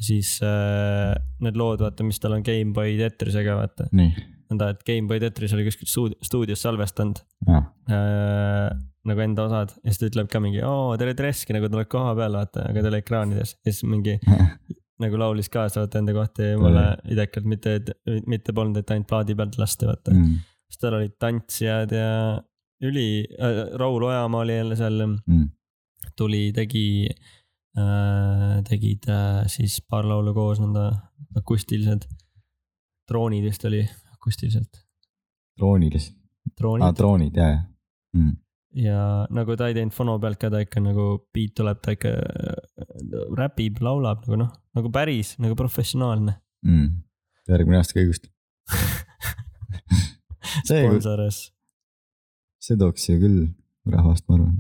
siis äh, need lood , vaata , mis tal on Gameboy Tetrisega , vaata . nii nõnda , et Gameboy Tetris oli kuskil stuud- stuudios salvestanud ah. , äh, nagu enda osad ja siis ta ütleb ka mingi , oo , te olete reski , nagu te olete koha peal , vaata , aga te olete ekraanides . ja siis mingi nagu laulis kaasa , vaata enda kohta ja jumala idekalt , mitte , mitte polnud , et ainult plaadi pealt lasti , vaata . mm. siis tal olid tantsijad ja üli äh, , Raul Ojamaa oli jälle seal Mm. tuli , tegi äh, , tegid äh, siis paar laulu koos nõnda akustilised . droonid vist oli akustiliselt , droonilised , droonid aa ah, . droonid ja , ja mm. . ja nagu ta ei teinud fono pealt ka , ta ikka nagu beat tuleb , ta ikka äh, räpib , laulab nagu noh , nagu päris nagu professionaalne . Mm. järgmine aasta kõigust . see , sponsores , see tooks ju küll rahvast , ma arvan ,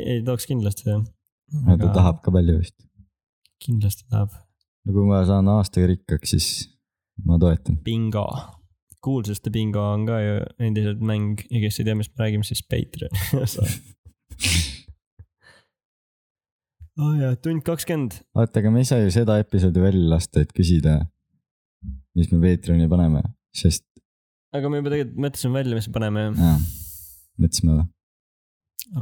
ei tooks kindlasti jah . ta . tahab ka palju vist . kindlasti tahab , no kui ma saan aastaga rikkaks , siis ma toetan . bingo . kuulsuste bingo on ka ju endiselt mäng ja kes ei tea , mis me räägime , siis Patreon osa . aa Oh jaa , tund kakskümmend . vaata , aga me ei saa ju seda episoodi välja lasta , et küsida , mis me Patreon'i paneme , sest aga me juba tegelikult mõtlesime välja , mis me paneme . jaa , mõtlesime või ?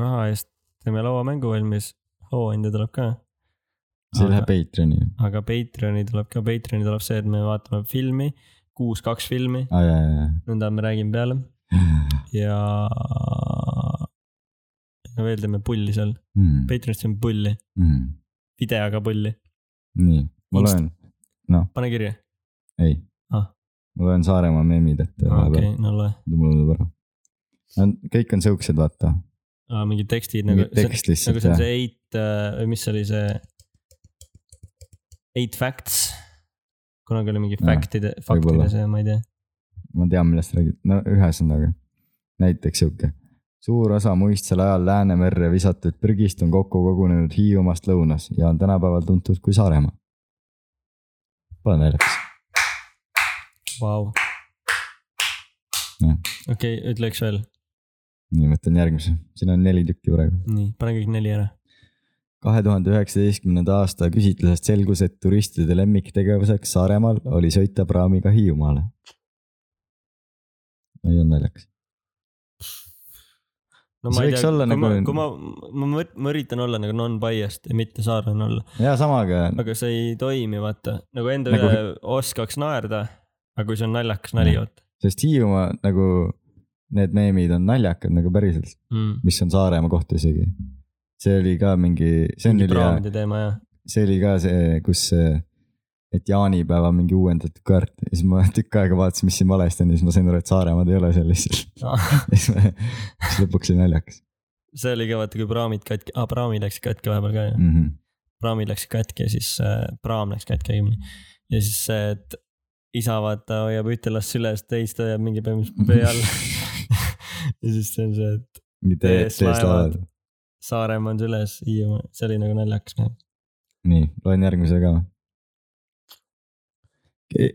raha eest teeme lauamängu valmis , hooandja tuleb ka . see ei lähe aga , Patreon'i ju . aga Patreoni tuleb ka , Patreoni tuleb see , et me vaatame filmi , kuus , kaks filmi , aa jaa , jaa , nõnda me räägime peale jaa . ja . ja veel teeme pulli seal , Hmm, Patreonis teeme pulli , videoga pulli , nii , ma Inst- loen , pane kirja . ei Ah. . ma loen Saaremaa meemid ette okei vahepeal , no loe , mul tuleb ära . kõik on siuksed , vaata , mingid tekstid nagu mingid . tekst nagu lihtsalt see on ja , see eight äh, või mis see oli see . Eight facts . kunagi oli mingi Jaa, fact'ide , faktide võib-olla. see , ma ei tea . ma tean , millest sa räägid , no ühesõnaga , näiteks sihuke . suur osa muistsel ajal Läänemerre visatud prügist on kokku kogunenud Hiiumaast lõunas ja on tänapäeval tuntud kui Saaremaa . Pole naljakas , Vau . Jah. okei , ütle üks veel , nii võtan järgmise , siin on neli tükki praegu . nii , pane kõik neli ära . kahe tuhande üheksateistkümnenda aasta küsitlusest selgus , et turistide lemmiktegevuseks Saaremaal oli sõita praamiga Hiiumaale . ei olnud naljakas . no See ma ei võiks tea , olla kui nagu... ma nagu- , kui ma , ma mõt- , ma üritan olla nagu non-biased ja mitte saarlane olla , ja samaga , aga see ei toimi , vaata , nagu enda Nagu- nagu... üle oskaks naerda , aga kui see on naljakas nali , Jah. vaata sest Hiiumaa nagu need meemid on naljakad nagu päriselt , mm. . mis on Saaremaa kohta isegi . see oli ka mingi , see on mingi ülihea , praamide teema ja , see oli ka see , kus , et jaanipäeva mingi uuendatud kaart ja siis ma tükk aega vaatasin , mis siin valesti on ja siis ma sain aru , et Saaremaad ei ole seal lihtsalt . ja siis ma- siis lõpuks oli naljakas see oli ka vaata , kui praamid katki , aa praamid läksid katki vahepeal ka ju . mm . -hmm. praamid läksid katki ja siis äh, praam läks katki õigemini . ja siis see , et isa vaata hoiab ühte last süles , teist hoiab mingi põhimõtteliselt pea all . ja siis see on see , et mingi tee , Ees tees laevad. laevad . Saaremaa on süles , Hiiumaa , see oli nagu naljakas . nii , loen järgmise ka .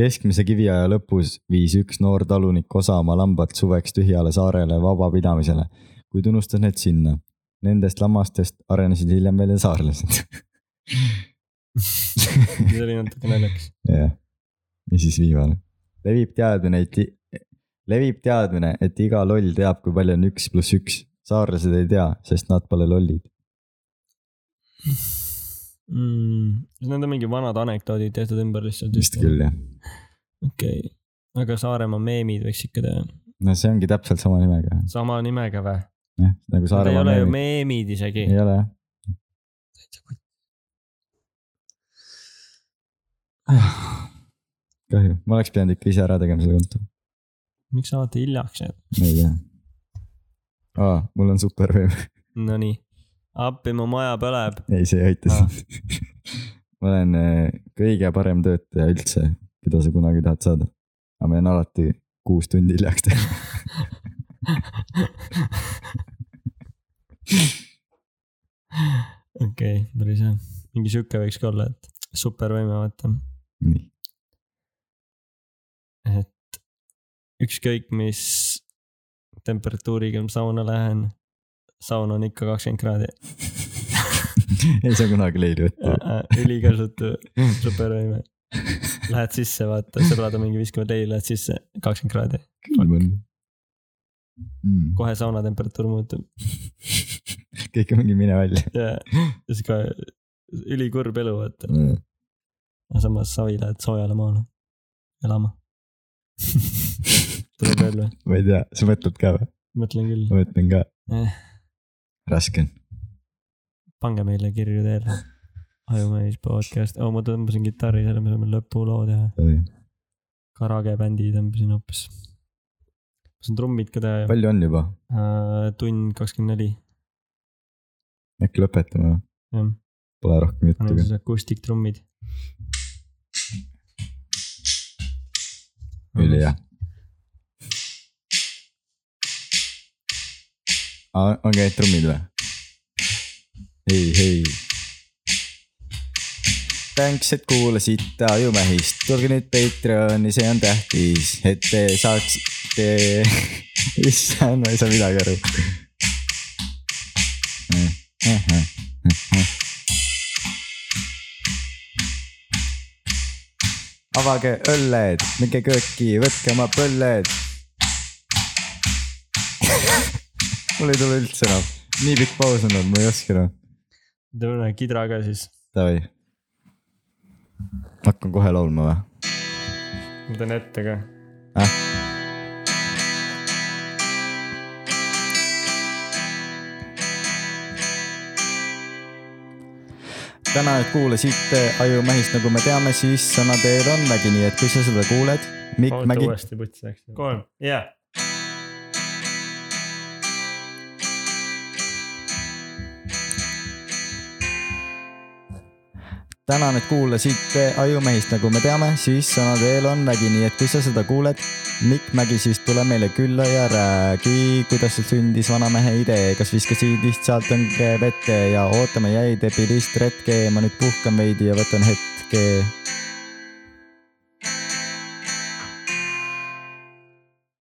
keskmise kiviaja lõpus viis üks noor talunik osa oma lambad suveks tühjale saarele vabapidamisele , kuid unustas need sinna . Nendest lammastest arenesid hiljem välja saarlased . see oli natuke naljakas . jah , ja siis viimane . levib teadmine , et , levib teadmine , et iga loll teab , kui palju on üks pluss üks . saarlased ei tea , sest nad pole lollid . mm, . Need on mingi vanad anekdoodid tehtud ümber lihtsalt . vist küll jah . okei okay. , aga Saaremaa meemid võiks ikka teha , no see ongi täpselt sama nimega , sama nimega või ? jah , nagu Need ei Saaremaa ole ju meemid . meemid isegi . ei ole jah , kahju , ma oleks pidanud ikka ise ära tegema selle konto , miks sa alati hiljaks jääd ? ma ei tea . aa , mul on superveeb , Nonii , appi mu maja põleb . ei see ei aita Aa. sind . ma olen äh, kõige parem töötaja üldse , keda sa kunagi tahad saada . aga ma jään alati kuus tundi hiljaks tegema . okei , päris hea , mingi sihuke võiks ka olla , et supervõime vaata , nii , et ükskõik mis temperatuuriga ma sauna lähen , saun on ikka kakskümmend kraadi . ei saa kunagi leili võtta . ülikasutu supervõime , lähed sisse , vaata , sõbrad on mingi viiskümmend leili , lähed sisse , kakskümmend kraadi , külm on mm. . kohe sauna temperatuur muutub . kõik on mingi mine välja . ja ja siis ka ülikurb elu , vaata . aga samas savi lähed soojale maale elama . tuleb veel või ? ma ei tea , sa mõtled ka või ? mõtlen küll , ma mõtlen ka Eh. . raske on . pange meile kirju teele . ajumõis podcast oh, , ma tõmbasin kitarri , selle me saame lõpuloo teha , karagebändi tõmbasin hoopis . ma saan trummid ka teha ju , palju on juba ? tund kakskümmend neli , äkki lõpetame või ? jah , Pole rohkem juttu panen ka . siis akustiktrummid . ülihea . on ka need trummid või ? hei , hei . tänks , et kuulasite Ajumähist , tulge nüüd Patreoni , see on tähtis , et te saaksite . issand , ma ei saa midagi aru . Mm, avage õlled , minge kööki , võtke oma põlled . mul ei tule üldse enam , nii pikk paus on olnud , ma ei oska enam . teeme ühe kidra ka siis , Davai . hakkan kohe laulma või ? ma teen ette ka täna , et kuulasite Ajumähist , nagu me teame , siis sõna teel on Mägi , nii et kui sa seda kuuled , Mikk oota Mägi , uuesti putsi läks . kolm , jah . tänan , et kuulasite Ajumähist , nagu me teame , siis sõna teel on Mägi , nii et kui sa seda kuuled , Mikk Mägi , siis tule meile külla ja räägi , kuidas sul sündis vanamehe idee , kas viskasid lihtsalt õnge vette ja ootame jäid epilist retke , ma nüüd puhkan veidi ja võtan hetke .